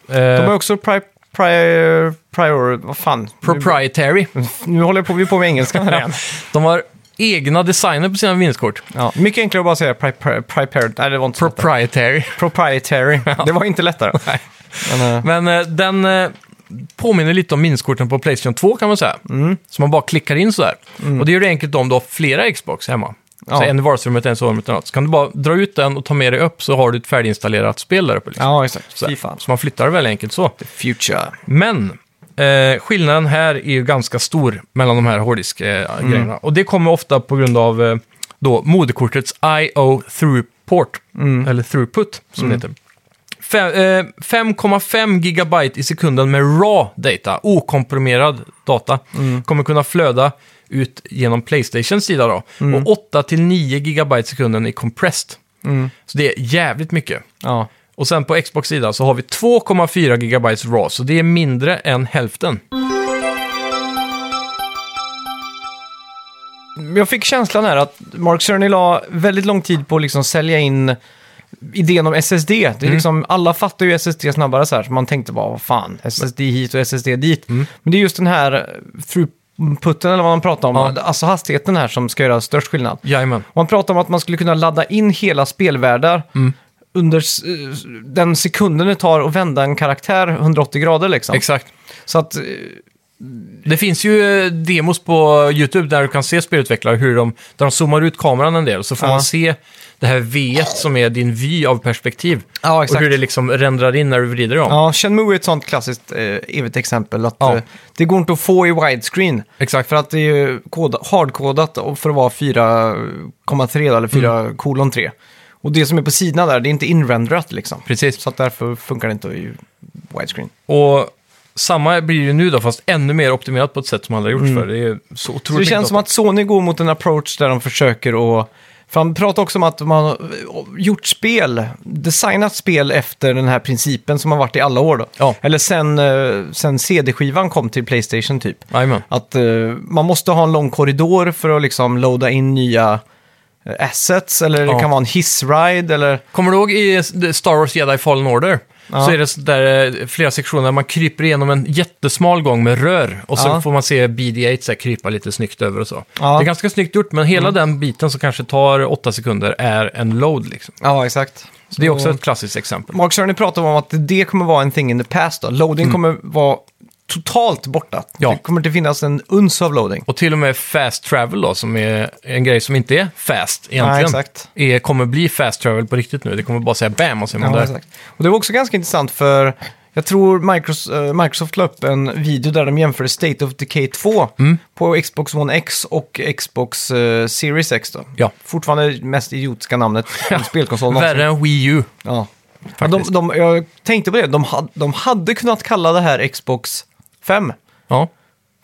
S2: Eh,
S1: De har också pri, pri, prior... Vad fan?
S2: proprietary.
S1: Nu, nu håller jag på, vi är på med engelskan här igen.
S2: De har egna designer på sina minneskort.
S1: Ja. Mycket enklare att bara säga pri, pri, prepared. Nej, det var inte så lätt.
S2: Proprietary.
S1: Proprietary. Det var inte lättare.
S2: Nej.
S1: Men, eh,
S2: Men eh, den eh, påminner lite om minneskorten på Playstation 2 kan man säga.
S1: Mm.
S2: Så man bara klickar in sådär. Och det gör det enkelt om du har flera Xbox hemma. Så
S1: Ja.
S2: en i vardagsrummet, en i sovrummet och något. Så kan du bara dra ut den och ta med dig upp så har du ett färdiginstallerat spel där uppe. Liksom.
S1: ja, exakt.
S2: Sådär.
S1: Fy fan.
S2: Så man flyttar det väldigt enkelt så.
S1: Future.
S2: Men eh, skillnaden här är ju ganska stor mellan de här hårddisk-grejerna. Och det kommer ofta på grund av eh, då moderkortets I.O. throughport, eller throughput som det heter. Fem- eh, 5,5 gigabyte i sekunden med raw data, okomprimerad data, kommer kunna flöda ut genom Playstations sida då. Och 8-9 gigabyte i sekunden i compressed. Så det är jävligt mycket.
S1: Ja.
S2: Och sen på Xbox sida så har vi 2,4 GB RAW, så det är mindre än hälften.
S1: Jag fick känslan här att Mark Cerny la väldigt lång tid på att liksom sälja in idén om SSD. Det är
S2: Mm.
S1: liksom, alla fattar ju SSD snabbare så här, så man tänkte bara, vad fan, SSD hit och SSD dit.
S2: Mm.
S1: Men det är just den här throughputen, eller vad man pratar om,
S2: Ja.
S1: alltså hastigheten här som ska göra störst skillnad.
S2: Jajamän.
S1: Man pratar om att man skulle kunna ladda in hela spelvärldar
S2: Mm.
S1: under s- eh, den sekunden det tar att vända en karaktär 180 grader liksom.
S2: Exakt.
S1: Så att eh,
S2: Det finns ju eh, demos på YouTube där du kan se spelutvecklare hur de, där de zoomar ut kameran en del. Så får
S1: Ja.
S2: man se det här V som är din vy av perspektiv.
S1: Ja, exakt.
S2: Och hur det liksom rendrar in när du vrider om.
S1: Ja, Shenmue är ett sånt klassiskt eh, evigt exempel. Att,
S2: Ja.
S1: eh, det går inte att få i widescreen.
S2: Exakt.
S1: För att det är ju koda- hardkodat och för att vara 4,3 eller
S2: Mm.
S1: 4,3. kolon tre. Och det som är på sidorna där, det är inte inrenderat liksom.
S2: Precis.
S1: Så att därför funkar det inte i widescreen.
S2: Och samma blir det ju nu då, fast ännu mer optimerat på ett sätt som aldrig gjorts förr. Det är så otroligt
S1: Mm. Så det
S2: mycket
S1: känns som
S2: data.
S1: att Sony går mot en approach där de försöker att... För han pratar också om att man har gjort spel, designat spel efter den här principen som har varit i alla år då.
S2: Ja.
S1: Eller sen, eh, sen CD-skivan kom till Playstation typ.
S2: Jajamän.
S1: Att eh, man måste ha en lång korridor för att liksom loada in nya eh, assets. Eller
S2: Ja.
S1: det kan vara en hissride eller...
S2: Kommer du ihåg i Star Wars Jedi Fallen Order? Så är det så där eh, flera sektioner där man kryper igenom en jättesmal gång med rör. Och så
S1: Ja.
S2: får man se BD-8 så här, krypa lite snyggt över och så.
S1: Ja. Mm.
S2: Det är ganska snyggt gjort, men hela den biten som kanske tar åtta sekunder är en load. Liksom.
S1: Ja, exakt.
S2: Så det är
S1: Mm.
S2: också ett klassiskt exempel.
S1: Mark Cerny pratade om att det kommer vara en thing in the past. Då. Loading kommer vara totalt borta.
S2: Mm. Ja.
S1: Det kommer inte finnas en uns av loading.
S2: Och till och med fast travel då, som är en grej som inte är fast egentligen.
S1: Nej, exakt.
S2: Är, kommer bli fast travel på riktigt nu. Det kommer bara säga bam och så är man
S1: Ja,
S2: där.
S1: exakt. Och det var också ganska intressant för jag tror Microsoft, eh, Microsoft la upp en video där de jämförde State of Decay 2
S2: Mm.
S1: på Xbox One X och Xbox eh, Series X. Då.
S2: Ja.
S1: Fortfarande mest idiotiska namnet på en spelkonsol någonsin.
S2: Värre än Wii U.
S1: Ja. Ja, De,
S2: Faktiskt.
S1: de, jag tänkte på det, de, had, de hade kunnat kalla det här Xbox 5.
S2: Ja.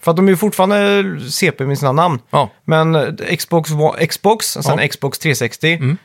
S1: För att de är ju fortfarande CP med sina namn.
S2: Ja.
S1: Men eh, Xbox, One- Xbox sen
S2: Ja. Mm.
S1: Xbox 360,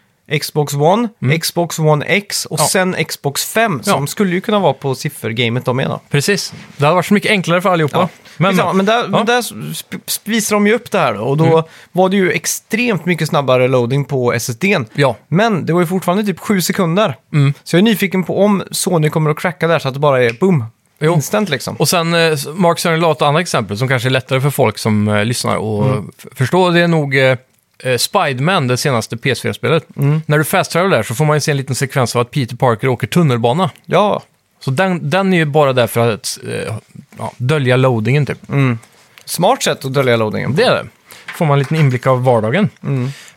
S1: Xbox One, Xbox One X och
S2: Ja.
S1: sen Xbox 5
S2: Ja.
S1: som skulle ju kunna vara på siffergamet de är då.
S2: Precis. Det hade varit så mycket enklare för allihopa.
S1: Men, men, där,
S2: Ja. Mm.
S1: men där sp- sp- visar de ju upp det här då, och då var det ju extremt mycket snabbare loading på SSDn.
S2: Ja. Mm.
S1: Men det var ju fortfarande typ 7 sekunder. Så jag är nyfiken på om Sony kommer att cracka där så att det bara är boom,
S2: Jo.
S1: instant liksom.
S2: Och sen eh, Mark Cerny la ett annat exempel som kanske är lättare för folk som eh, lyssnar och f- förstår. Det är nog eh, eh, Spiderman, det senaste PS4-spelet. När du fast travelar där så får man ju se en liten sekvens av att Peter Parker åker tunnelbana.
S1: Ja,
S2: Så den, den är ju bara där för att eh, ja, dölja loadingen typ.
S1: smart sätt att dölja loadingen.
S2: Det är det. Får man en liten inblick av vardagen.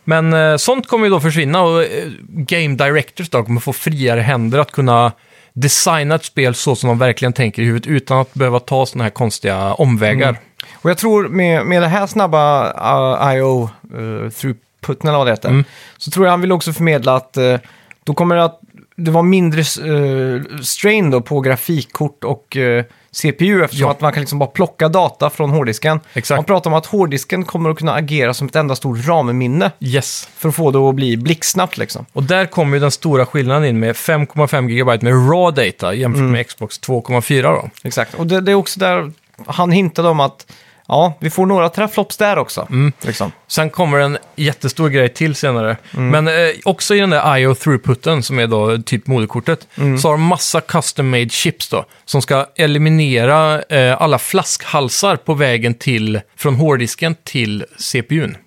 S2: Men eh, sånt kommer ju då försvinna och eh, Game Directors då kommer få friare händer att kunna designa ett spel så som de verkligen tänker i huvudet utan att behöva ta sådana här konstiga omvägar.
S1: Mm. Och jag tror med, med det här snabba uh, IO uh, throughputen eller vad det heter,
S2: Mm.
S1: så tror jag han vill också förmedla att eh, då kommer det att det vara mindre eh, strain då på grafikkort och eh, CPU eftersom
S2: Ja.
S1: att man kan liksom bara plocka data från hårddisken.
S2: Exakt.
S1: Man pratar om att hårddisken kommer att kunna agera som ett enda stort ramminne
S2: Yes.
S1: för att få det att bli blixtsnabbt liksom.
S2: Och där kommer ju den stora skillnaden in med 5,5 GB med raw data jämfört med Xbox 2,4 då.
S1: Exakt. Och det, det är också där han hintade om att ja, vi får några träfflops där också.
S2: Mm.
S1: Liksom.
S2: Sen kommer en jättestor grej till senare. Men eh, också i den där IO throughputen som är då typ moderkortet, så har de massa custom made chips då, som ska eliminera eh, alla flaskhalsar på vägen till, från hårddisken till CPUn.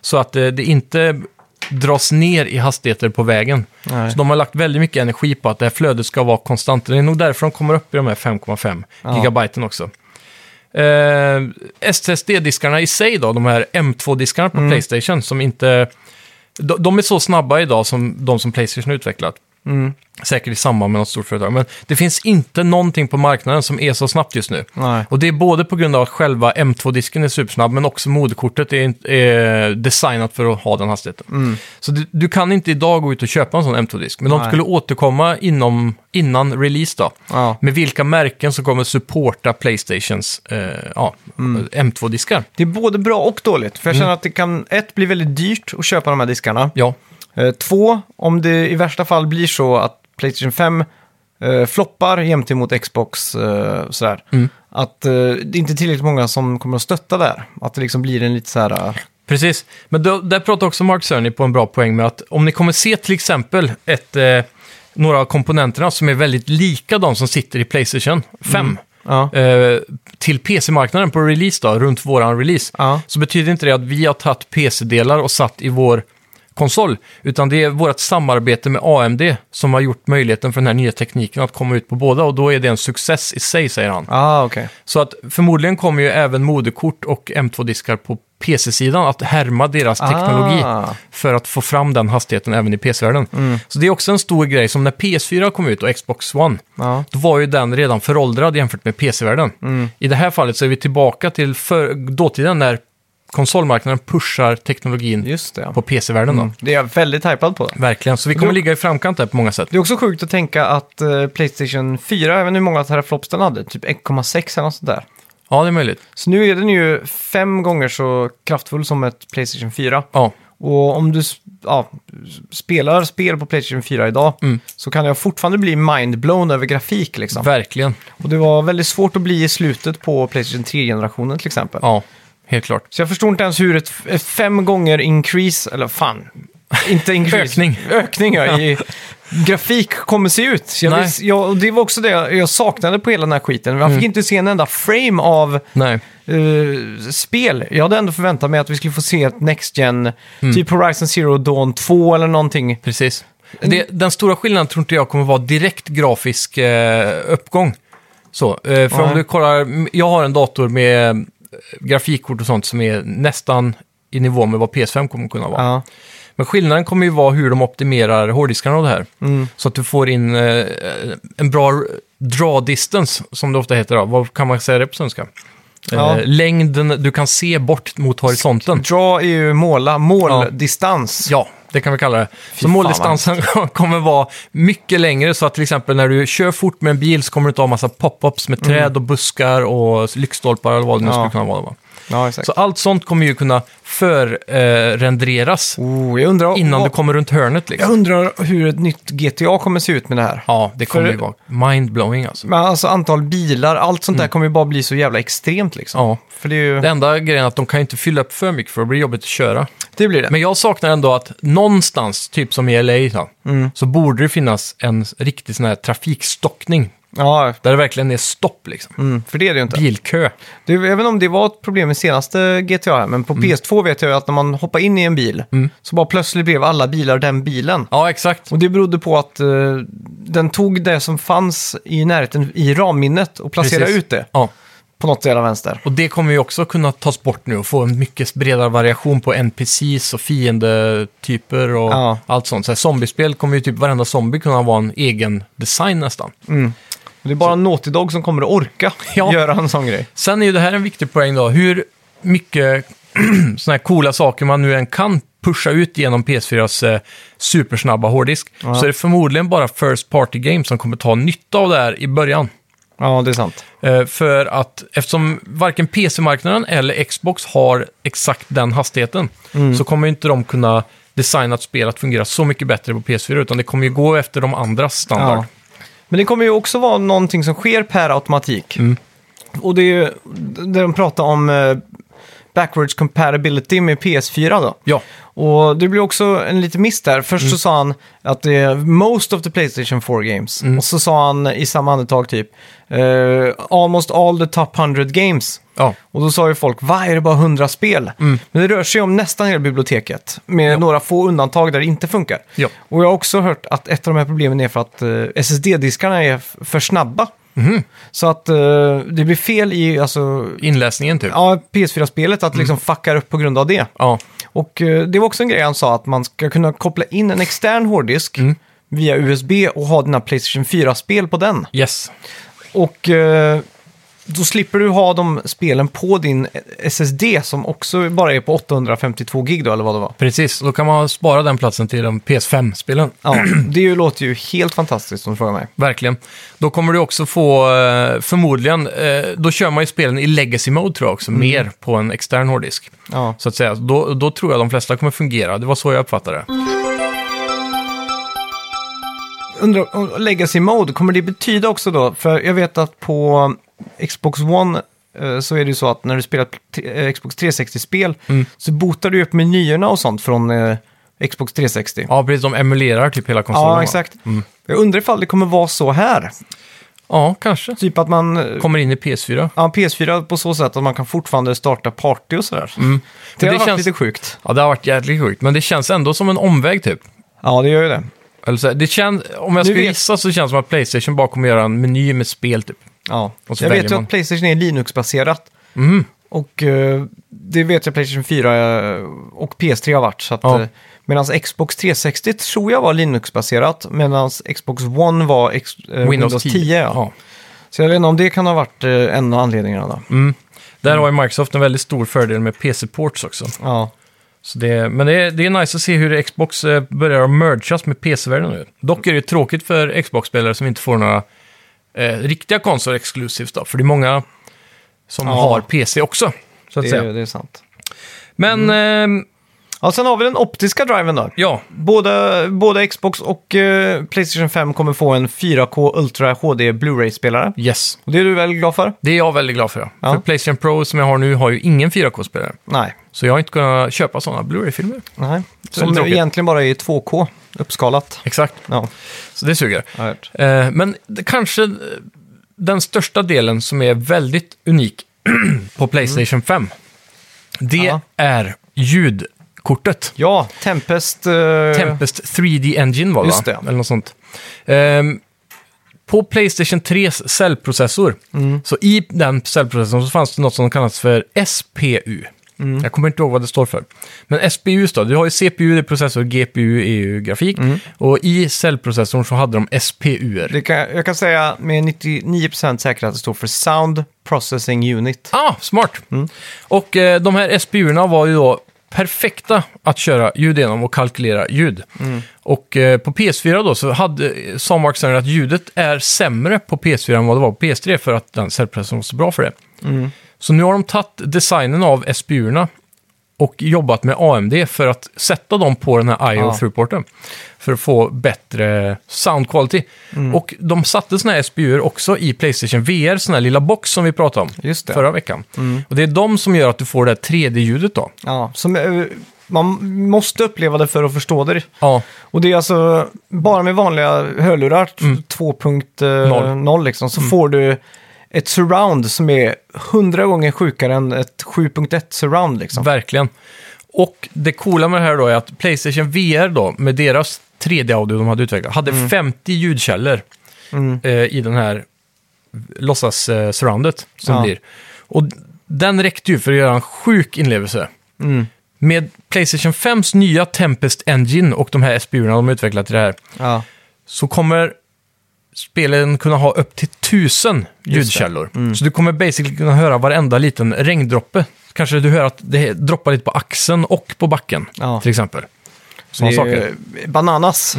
S2: Så att eh, det inte dras ner i hastigheter på vägen.
S1: Nej.
S2: Så de har lagt väldigt mycket energi på att det här flödet ska vara konstant. Det är nog därför de kommer upp i de här 5,5 gigabyten också. Eh, SSD-diskarna i sig då, de här M2-diskarna
S1: Mm.
S2: på Playstation som inte... De, de är så snabba idag som de som Playstation har utvecklat.
S1: Mm.
S2: Säkert i samband med något stort företag. Men det finns inte någonting på marknaden som är så snabbt just nu.
S1: Nej.
S2: Och det är både på grund av att själva M2-disken är supersnabb, men också moderkortet är, in- är designat för att ha den hastigheten. Så du, du kan inte idag gå ut och köpa en sån M2-disk, men de
S1: Mm. Nej.
S2: skulle återkomma inom, innan release då,
S1: Ja.
S2: med vilka märken som kommer supporta Playstations eh, ja, M2-diskar.
S1: Det är både bra och dåligt. För jag känner att det kan, ett, bli väldigt dyrt att köpa de här diskarna.
S2: Ja,
S1: Eh, två, om det i värsta fall blir så att Playstation 5 eh, floppar jämt emot Xbox eh, sådär. Att eh, det är inte tillräckligt många som kommer att stötta där. Att det liksom blir en lite så här... eh,
S2: Precis, men då, där pratar också Mark Cerny på en bra poäng med att om ni kommer se till exempel ett, eh, några av komponenterna som är väldigt lika de som sitter i Playstation 5
S1: Ja.
S2: eh, till PC-marknaden på release då, runt våran release,
S1: Ja.
S2: så betyder inte det att vi har tagit PC-delar och satt i vår konsol, utan det är vårt samarbete med AMD som har gjort möjligheten för den här nya tekniken att komma ut på båda och då är det en success i sig, säger han.
S1: Ah, okej.
S2: Så att förmodligen kommer ju även moderkort och M2-diskar på PC-sidan att härma deras teknologi
S1: Ah. Mm.
S2: för att få fram den hastigheten även i PC-världen. Så det är också en stor grej, som när PS4 kom ut och Xbox One,
S1: Ja.
S2: då var ju den redan föråldrad jämfört med PC-världen.
S1: Mm.
S2: I det här fallet så är vi tillbaka till för, dåtiden när konsolmarknaden pushar teknologin
S1: Just det. Mm.
S2: på PC-världen. Då.
S1: Det är jag väldigt hypad på.
S2: Verkligen, så vi kommer ligga i framkant där på många sätt.
S1: Det är också sjukt att tänka att eh, Playstation 4, även hur många teraflops den hade, typ 1,6 eller något sånt där.
S2: Ja, det är möjligt.
S1: Så nu är den ju fem gånger så kraftfull som ett Playstation 4.
S2: Ja,
S1: Och om du s- ja, spelar spel på Playstation 4 idag
S2: Mm.
S1: så kan jag fortfarande bli mindblown över grafik liksom.
S2: verkligen.
S1: Och det var väldigt svårt att bli i slutet på Playstation 3-generationen till exempel.
S2: Ja, helt klart.
S1: Så jag förstår inte ens hur ett, ett fem gånger increase, eller fan, inte increase.
S2: Ökning.
S1: Ökning ja, i grafik kommer se ut. Så Jag
S2: Nej.
S1: vill, jag, och det var också det jag jag saknade på hela den här skiten. Man fick
S2: Mm.
S1: inte se en enda frame av
S2: Nej.
S1: eh, spel. Jag hade ändå förväntat mig att vi skulle få se ett Next Gen,
S2: Mm.
S1: typ Horizon Zero Dawn 2 eller någonting.
S2: Precis. Det,
S1: Mm.
S2: den stora skillnaden tror inte jag kommer vara direkt grafisk eh, uppgång. Så, eh, för
S1: Nej.
S2: om du kollar, m- jag har en dator med eh, grafikkort och sånt som är nästan i nivå med vad PS5 kommer kunna vara.
S1: Ja.
S2: Men skillnaden kommer ju vara hur de optimerar hårddiskarna och det här.
S1: Mm.
S2: Så att du får in eh, en bra draw distance, som det ofta heter. Då. Vad kan man säga det på svenska?
S1: Ja.
S2: Eh, längden du kan se bort mot horisonten.
S1: Draw är ju måla, måldistans.
S2: Ja, det kan vi kalla det. så
S1: fan, alltså.
S2: måldistansen kommer vara mycket längre, så att till exempel när du kör fort med en bil så kommer du inte ha massa pop-ups med träd och buskar och lyktstolpar eller vad det nu
S1: Mm. Ja.
S2: skulle kunna vara. Va?
S1: Ja, exakt.
S2: Så allt sånt kommer ju kunna förrenderas
S1: Oh, jag undrar,
S2: innan
S1: vad-
S2: du kommer runt hörnet.
S1: jag
S2: Liksom.
S1: undrar hur ett nytt GTA kommer se ut med det här.
S2: Ja, det kommer
S1: För-
S2: ju vara mindblowing alltså.
S1: Men alltså antal bilar, allt sånt där kommer ju bara bli så jävla extremt liksom.
S2: Mm. Ja.
S1: För det, är ju,
S2: Det enda grejen är att de kan ju inte fylla upp för mycket för det blir jobbigt att köra.
S1: det blir det.
S2: Men jag saknar ändå att någonstans, typ som i LA, då,
S1: Mm.
S2: så borde det finnas en riktig sån här trafikstockning.
S1: ja,
S2: Där det verkligen är stopp liksom.
S1: mm, för det är det ju inte.
S2: Bilkö.
S1: Det, även om det var ett problem i senaste GTA, här, men
S2: Mm.
S1: på PS2 vet jag ju att när man hoppar in i en bil så bara plötsligt blev alla bilar den bilen.
S2: Ja, exakt.
S1: Och det berodde på att eh, den tog det som fanns i närheten i ramminnet och placerade
S2: Precis.
S1: ut det
S2: Ja.
S1: på något jävla vänster.
S2: Och det kommer ju också kunna tas bort nu och få en mycket bredare variation på NPCs och fiendetyper och
S1: Ja.
S2: allt sånt. Så här, zombiespel kommer ju typ varenda zombie kunna vara en egen design nästan.
S1: Och det är bara Naughty Dog som kommer att orka
S2: Ja.
S1: göra en sån grej.
S2: Sen är ju det här en viktig poäng då. Hur mycket sådana här coola saker man nu än kan pusha ut genom PS4s eh, supersnabba hårddisk så är det förmodligen bara First Party Games som kommer ta nytta av det här i början.
S1: Ja, det är sant.
S2: Eh, För att eftersom varken PC-marknaden eller Xbox har exakt den hastigheten så kommer ju inte de kunna designa ett spel att fungera så mycket bättre på PS4 utan det kommer ju gå efter de andras standard.
S1: Ja. Men det kommer ju också vara någonting som sker per automatik.
S2: Mm.
S1: Och det är ju det de pratar om eh, backwards compatibility med PS4 då.
S2: Ja,
S1: Och det blir också en liten miss där. Först
S2: Mm.
S1: så sa han att det är most of the Playstation 4 games.
S2: Mm.
S1: Och så sa han i samma andetag typ eh, almost all the top 100 games.
S2: ja. Mm.
S1: Och då sa ju folk, va är det bara 100 spel? Men det rör sig om nästan hela biblioteket. Med några få undantag där det inte funkar.
S2: Ja.
S1: Och jag har också hört att ett av de här problemen är för att eh, SSD-diskarna är f- för snabba.
S2: Mhm.
S1: Så att eh, det blir fel i alltså,
S2: inläsningen typ. Ja.
S1: ja, PS4-spelet
S2: Mm.
S1: att liksom fuckar upp på grund av det. Och eh, det var också en grej han sa, att man ska kunna koppla in en extern hårddisk via USB och ha dina Playstation 4-spel på den.
S2: Yes.
S1: Och eh, då slipper du ha de spelen på din SSD som också bara är på 852 gig då, eller vad det var.
S2: Precis, då kan man spara den platsen till de PS5-spelen.
S1: Ja, det ju, låter ju helt fantastiskt om du frågar mig.
S2: Verkligen. Då kommer du också få, eh, förmodligen, eh, då kör man ju spelen i legacy mode tror jag också,
S1: Mm.
S2: mer på en extern hårddisk.
S1: Ja.
S2: Så att säga, då, då tror jag de flesta kommer fungera. Det var så jag uppfattade det.
S1: Mm. Undrar om legacy mode, kommer det betyda också då? För jag vet att på Xbox One eh, så är det ju så att när du spelar t- eh, Xbox 360-spel
S2: Mm.
S1: så botar du upp menyerna och sånt från eh, Xbox 360.
S2: Ja, precis. De emulerar typ hela konsolen.
S1: Ja,
S2: va?
S1: exakt. Jag undrar ifall det kommer vara så här.
S2: Ja, kanske.
S1: Typ att man... eh,
S2: Kommer in i PS4.
S1: Ja, PS4 på så sätt att man kan fortfarande starta party och sådär. Det,
S2: Mm. Men
S1: har
S2: det
S1: varit
S2: känns-
S1: lite sjukt.
S2: Ja, det har varit jävligt sjukt. Men det känns ändå som en omväg typ.
S1: Ja, det gör ju det.
S2: Eller så här, det känns, om jag
S1: Nu
S2: skulle
S1: vet-
S2: gissa så känns det som att Playstation bara kommer göra en meny med spel typ.
S1: Ja.
S2: Och så
S1: Jag
S2: väljer
S1: vet ju
S2: man.
S1: att Playstation är Linux-baserat.
S2: Mm.
S1: Och eh, det vet jag Playstation 4 eh, och PS3 har varit. Så att,
S2: Ja.
S1: eh, medan Xbox 360 tror jag var Linux-baserat, medan Xbox One var ex, eh, Windows, 10. ja.
S2: Ja.
S1: Så jag vet inte om det kan ha varit eh, en av anledningarna. Då.
S2: Mm. Där har
S1: Mm.
S2: ju Microsoft en väldigt stor fördel med PC-ports också.
S1: Ja.
S2: Så det, men det är, det är nice att se hur Xbox eh, börjar att mergas med PC-världen nu. Dock är det ju tråkigt för Xbox-spelare som inte får några eh, riktiga konsoler exklusivt då, för det är många som
S1: Ja.
S2: har PC också. Så att
S1: Det, är- Mm.
S2: säga.
S1: det är sant.
S2: Men eh,
S1: Ja, sen har vi den optiska driven då.
S2: ja,
S1: Båda, båda Xbox och eh, Playstation 5 kommer få en 4K Ultra HD Blu-ray-spelare.
S2: yes.
S1: Och det är du väl glad för?
S2: Det är jag väldigt glad för. Ja.
S1: Ja.
S2: För Playstation Pro som jag har nu har ju ingen 4K-spelare.
S1: Nej.
S2: Så jag har inte kunnat köpa sådana Blu-ray-filmer.
S1: Nej.
S2: det är
S1: Som
S2: tråkigt.
S1: egentligen bara är 2K uppskalat.
S2: Exakt.
S1: Ja,
S2: Så det suger.
S1: jag har hört.
S2: Eh, men det, kanske eh, den största delen som är väldigt unik på Playstation 5, det
S1: Ja.
S2: är ljudkortet.
S1: Ja, Tempest. eh,
S2: Tempest 3D Engine var det,
S1: Just
S2: va?
S1: det.
S2: Eller något sånt. Ehm, på Playstation 3s cellprocessor,
S1: Mm.
S2: så i den cellprocessorn så fanns det något som kallas för SPU.
S1: Mm.
S2: Jag kommer inte ihåg vad det står för. Men SPU då, du har ju CPU, det är processor, GPU, EU-grafik. E
S1: Mm.
S2: Och i cellprocessorn så hade de SPUer.
S1: Det kan, jag kan säga med 99% säkerhet att det står för Sound Processing Unit.
S2: Ah, smart! Och eh, de här SPU-erna var ju då perfekta att köra ljud genom och kalkylera ljud. Och eh, på PS4 då så hade, sa Mark Cerner att ljudet är sämre på PS4 än vad det var på PS3 för att den cellpressen var så bra för det. Så nu har de tagit designen av SPU-erna och jobbat med AMD för att sätta dem på den här
S1: Ja.
S2: IO-throughporten. För att få bättre sound quality.
S1: Mm.
S2: Och de satte såna här SPU-er också i Playstation VR, sån här lilla box som vi pratade om
S1: Just det. Mm.
S2: förra veckan. Och det är de som gör att du får det här 3D-ljudet då.
S1: Ja, som, eh, man måste uppleva det för att förstå det.
S2: Ja,
S1: Och det är alltså bara med vanliga hörlurar,
S2: Mm.
S1: 2.0 eh, liksom, så får du ett surround som är 100 gånger sjukare än ett 7.1 surround liksom.
S2: verkligen. Och det coola med det här då är att Playstation VR då, med deras 3D-audio de hade utvecklat, hade 50 ljudkällor eh, i den här låtsas-surroundet som
S1: Ja.
S2: blir. Och den räckte ju för att göra en sjuk inlevelse.
S1: Mm.
S2: Med Playstation 5s nya Tempest Engine och de här SPU-erna de har utvecklat till det här,
S1: Ja,
S2: så kommer spelen kunna ha upp till tusen ljudkällor.
S1: Mm.
S2: Så du kommer basically kunna höra varenda liten regndroppe. Kanske du hör att det droppar lite på axeln och på backen,
S1: Ja.
S2: till exempel.
S1: det
S2: Sådana
S1: är
S2: saker. Mm.
S1: ju bananas.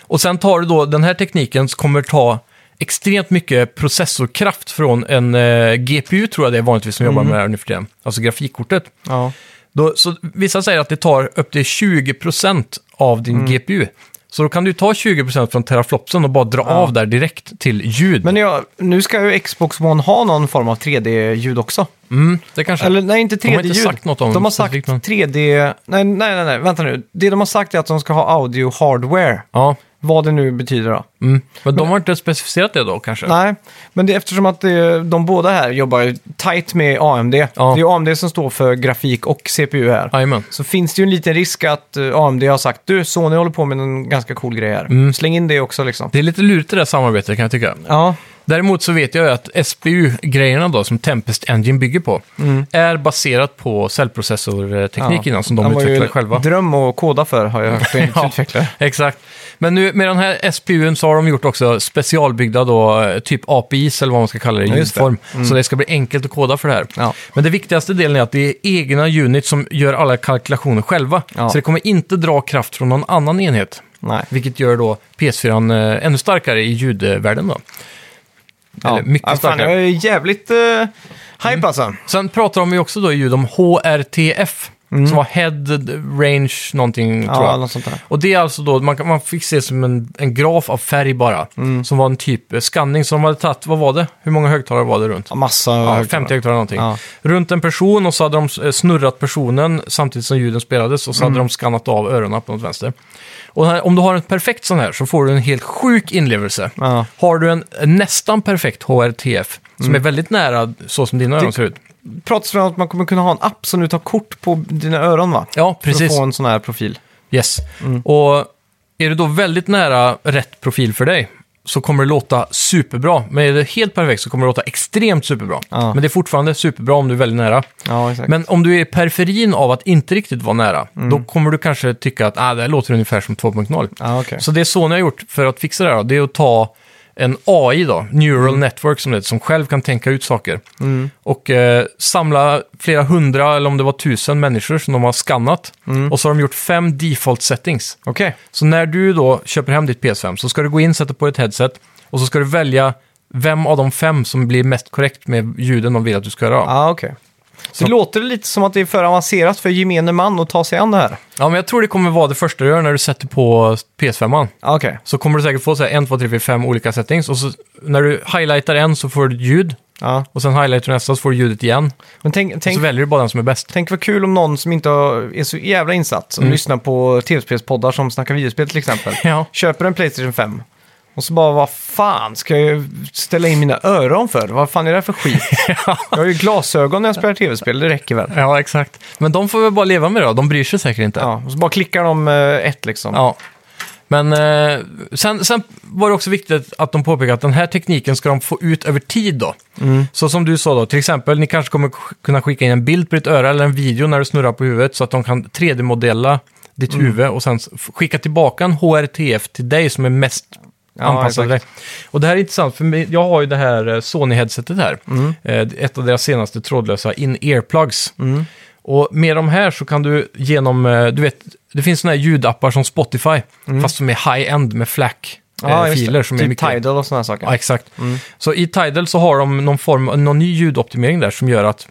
S2: Och sen tar du då, den här tekniken kommer ta extremt mycket processorkraft från en eh, GPU, tror jag det är vanligtvis som
S1: Mm.
S2: jobbar med det här nu för tiden. Alltså grafikkortet.
S1: Ja.
S2: Då, så vissa säger att det tar upp till 20% av din
S1: Mm.
S2: GPU. Så då kan du ta 20% från teraflopsen och bara dra av där direkt till ljud.
S1: Men jag, nu ska ju Xbox One ha någon form av 3D-ljud också.
S2: mm, det kanske...
S1: Eller nej, inte 3D-ljud.
S2: har inte sagt något om
S1: De har
S2: det
S1: sagt
S2: specifikt, men-
S1: 3D... Nej, nej, nej, nej, vänta nu. Det de har sagt är att de ska ha audio-hardware.
S2: Ja.
S1: Vad det nu betyder då.
S2: Mm. Men de har inte specificerat det då kanske?
S1: Nej, men det, eftersom att det, de båda här jobbar ju tajt med AMD.
S2: Ja.
S1: Det är AMD som står för grafik och CPU här.
S2: Jajamän.
S1: Så finns det ju en liten risk att eh, AMD har sagt du, Sony håller på med en ganska cool grej här. Släng in det också liksom.
S2: Mm. Det är lite lurigt det där samarbetet kan jag tycka.
S1: Ja,
S2: Däremot så vet jag ju att SPU-grejerna då som Tempest Engine bygger på
S1: Mm.
S2: är baserat på cellprocessorteknik innan som de
S1: Den var ju
S2: utvecklade
S1: en
S2: själva.
S1: dröm att koda för har jag hört enligt utvecklare.
S2: exakt. Men nu med den här SPUn så har de gjort också specialbyggda då, eh, typ APIs eller vad man ska kalla det i
S1: Ja, just det. Mm.
S2: ljudform. Så det ska bli enkelt att koda för det här.
S1: Ja.
S2: Men det viktigaste delen är att det är egna units som gör alla kalkylationer själva.
S1: Ja.
S2: Så det kommer inte dra kraft från någon annan enhet.
S1: Nej.
S2: Vilket gör då PS4 eh, ännu starkare i ljudvärlden då. Eller mycket
S1: fan,
S2: starkare. Mm.
S1: jag är jävligt uh, eh, hype alltså.
S2: Sen pratar de ju också då i ljud om HRTF. Som var head range någonting, tror
S1: Ja,
S2: jag.
S1: något sånt där.
S2: Och det är alltså då, man, kan- man fick se som en, en graf av färg bara.
S1: Mm.
S2: Som var en typ eh, skanning som de hade tagit, vad var det? Hur många högtalare var det runt?
S1: Ja, Massa
S2: Ja,
S1: högtalare.
S2: 50 högtalare någonting.
S1: Ja.
S2: Runt en person och så hade de eh, snurrat personen samtidigt som ljuden spelades och
S1: Mm.
S2: så hade de skannat av öronen på något vänster. Och här, om du har en perfekt sån här så får du en helt sjuk inlevelse.
S1: Ja. Mm.
S2: Har du en eh, nästan perfekt HRTF som är väldigt nära så som dina öron ser ut.
S1: Pratas det om att man kommer kunna ha en app som du tar kort på dina öron va?
S2: Ja,
S1: För att
S2: precis.
S1: få en sån här profil.
S2: Yes. Och är du då väldigt nära rätt profil för dig så kommer det låta superbra. Men är det helt perfekt så kommer det låta extremt superbra.
S1: Ja.
S2: Men det är fortfarande superbra om du är väldigt nära.
S1: Ja, exakt.
S2: Men om du är i periferin av att inte riktigt vara nära, då kommer du kanske tycka att ah, det här låter ungefär som 2.0.
S1: Ja, okej.
S2: Så det Sony har gjort för att fixa det här, då, det är att ta en AI då, Neural Network som det heter, som själv kan tänka ut saker. Och eh, samla flera hundra, eller om det var tusen människor som de har skannat. Och så har de gjort fem default settings.
S1: Okej.
S2: Så när du då köper hem ditt PS5 så ska du gå in, sätta på ett headset och så ska du välja vem av de fem som blir mest korrekt med ljuden de vill att du ska höra.
S1: Ja, okej. Så det låter lite som att det är för avancerat för gemene man att ta sig an det här.
S2: Ja, men jag tror det kommer vara det första du gör när du sätter på PS5. -an.
S1: Ja, Okej.
S2: Så kommer du säkert få så här, 1, 2, 3, 4, 5 olika settings. Och så när du highlightar en så får du ett ljud.
S1: Ja.
S2: Och sen highlightar du nästa så får du ljudet igen.
S1: Men tänk,
S2: Och så
S1: tänk,
S2: väljer du bara den som är bäst.
S1: tänk vad kul om någon som inte har- är så jävla insatt, som lyssnar på tv-spelspoddar som snackar videospel till exempel,
S2: Mm. Ja.
S1: köper en Playstation 5 och så bara, vad fan ska jag ställa in mina öron för? Vad fan är det här för skit? Jag har ju glasögon när jag spelar tv-spel, det räcker väl?
S2: Ja, exakt. Men de får väl bara leva med det då. De bryr sig säkert inte.
S1: Ja, och så bara klickar de eh, ett liksom.
S2: Ja. Men eh, sen, sen var det också viktigt att de påpekade att den här tekniken ska de få ut över tid då. Så som du sa då, till exempel, ni kanske kommer sk- kunna skicka in en bild på ditt öra eller en video när du snurrar på huvudet så att de kan 3D-modella ditt huvud och sen s- f- skicka tillbaka en HRTF till dig som är mest anpassad till dig. Och det här är intressant, för mig- jag har ju det här eh, Sony-headsetet här.
S1: Mm.
S2: Eh, Ett av deras senaste trådlösa in-earplugs.
S1: Mm.
S2: Och med de här så kan du genom, eh, du vet, det finns såna här ljudappar som Spotify, fast som är high-end med
S1: Mm. Ja, just det.
S2: FLAC-filer. eh, som är
S1: typ
S2: mycket...
S1: Tidal Mm. och sådana saker.
S2: Ja, exakt. Så i Tidal så har de någon, form, någon ny ljudoptimering där som gör att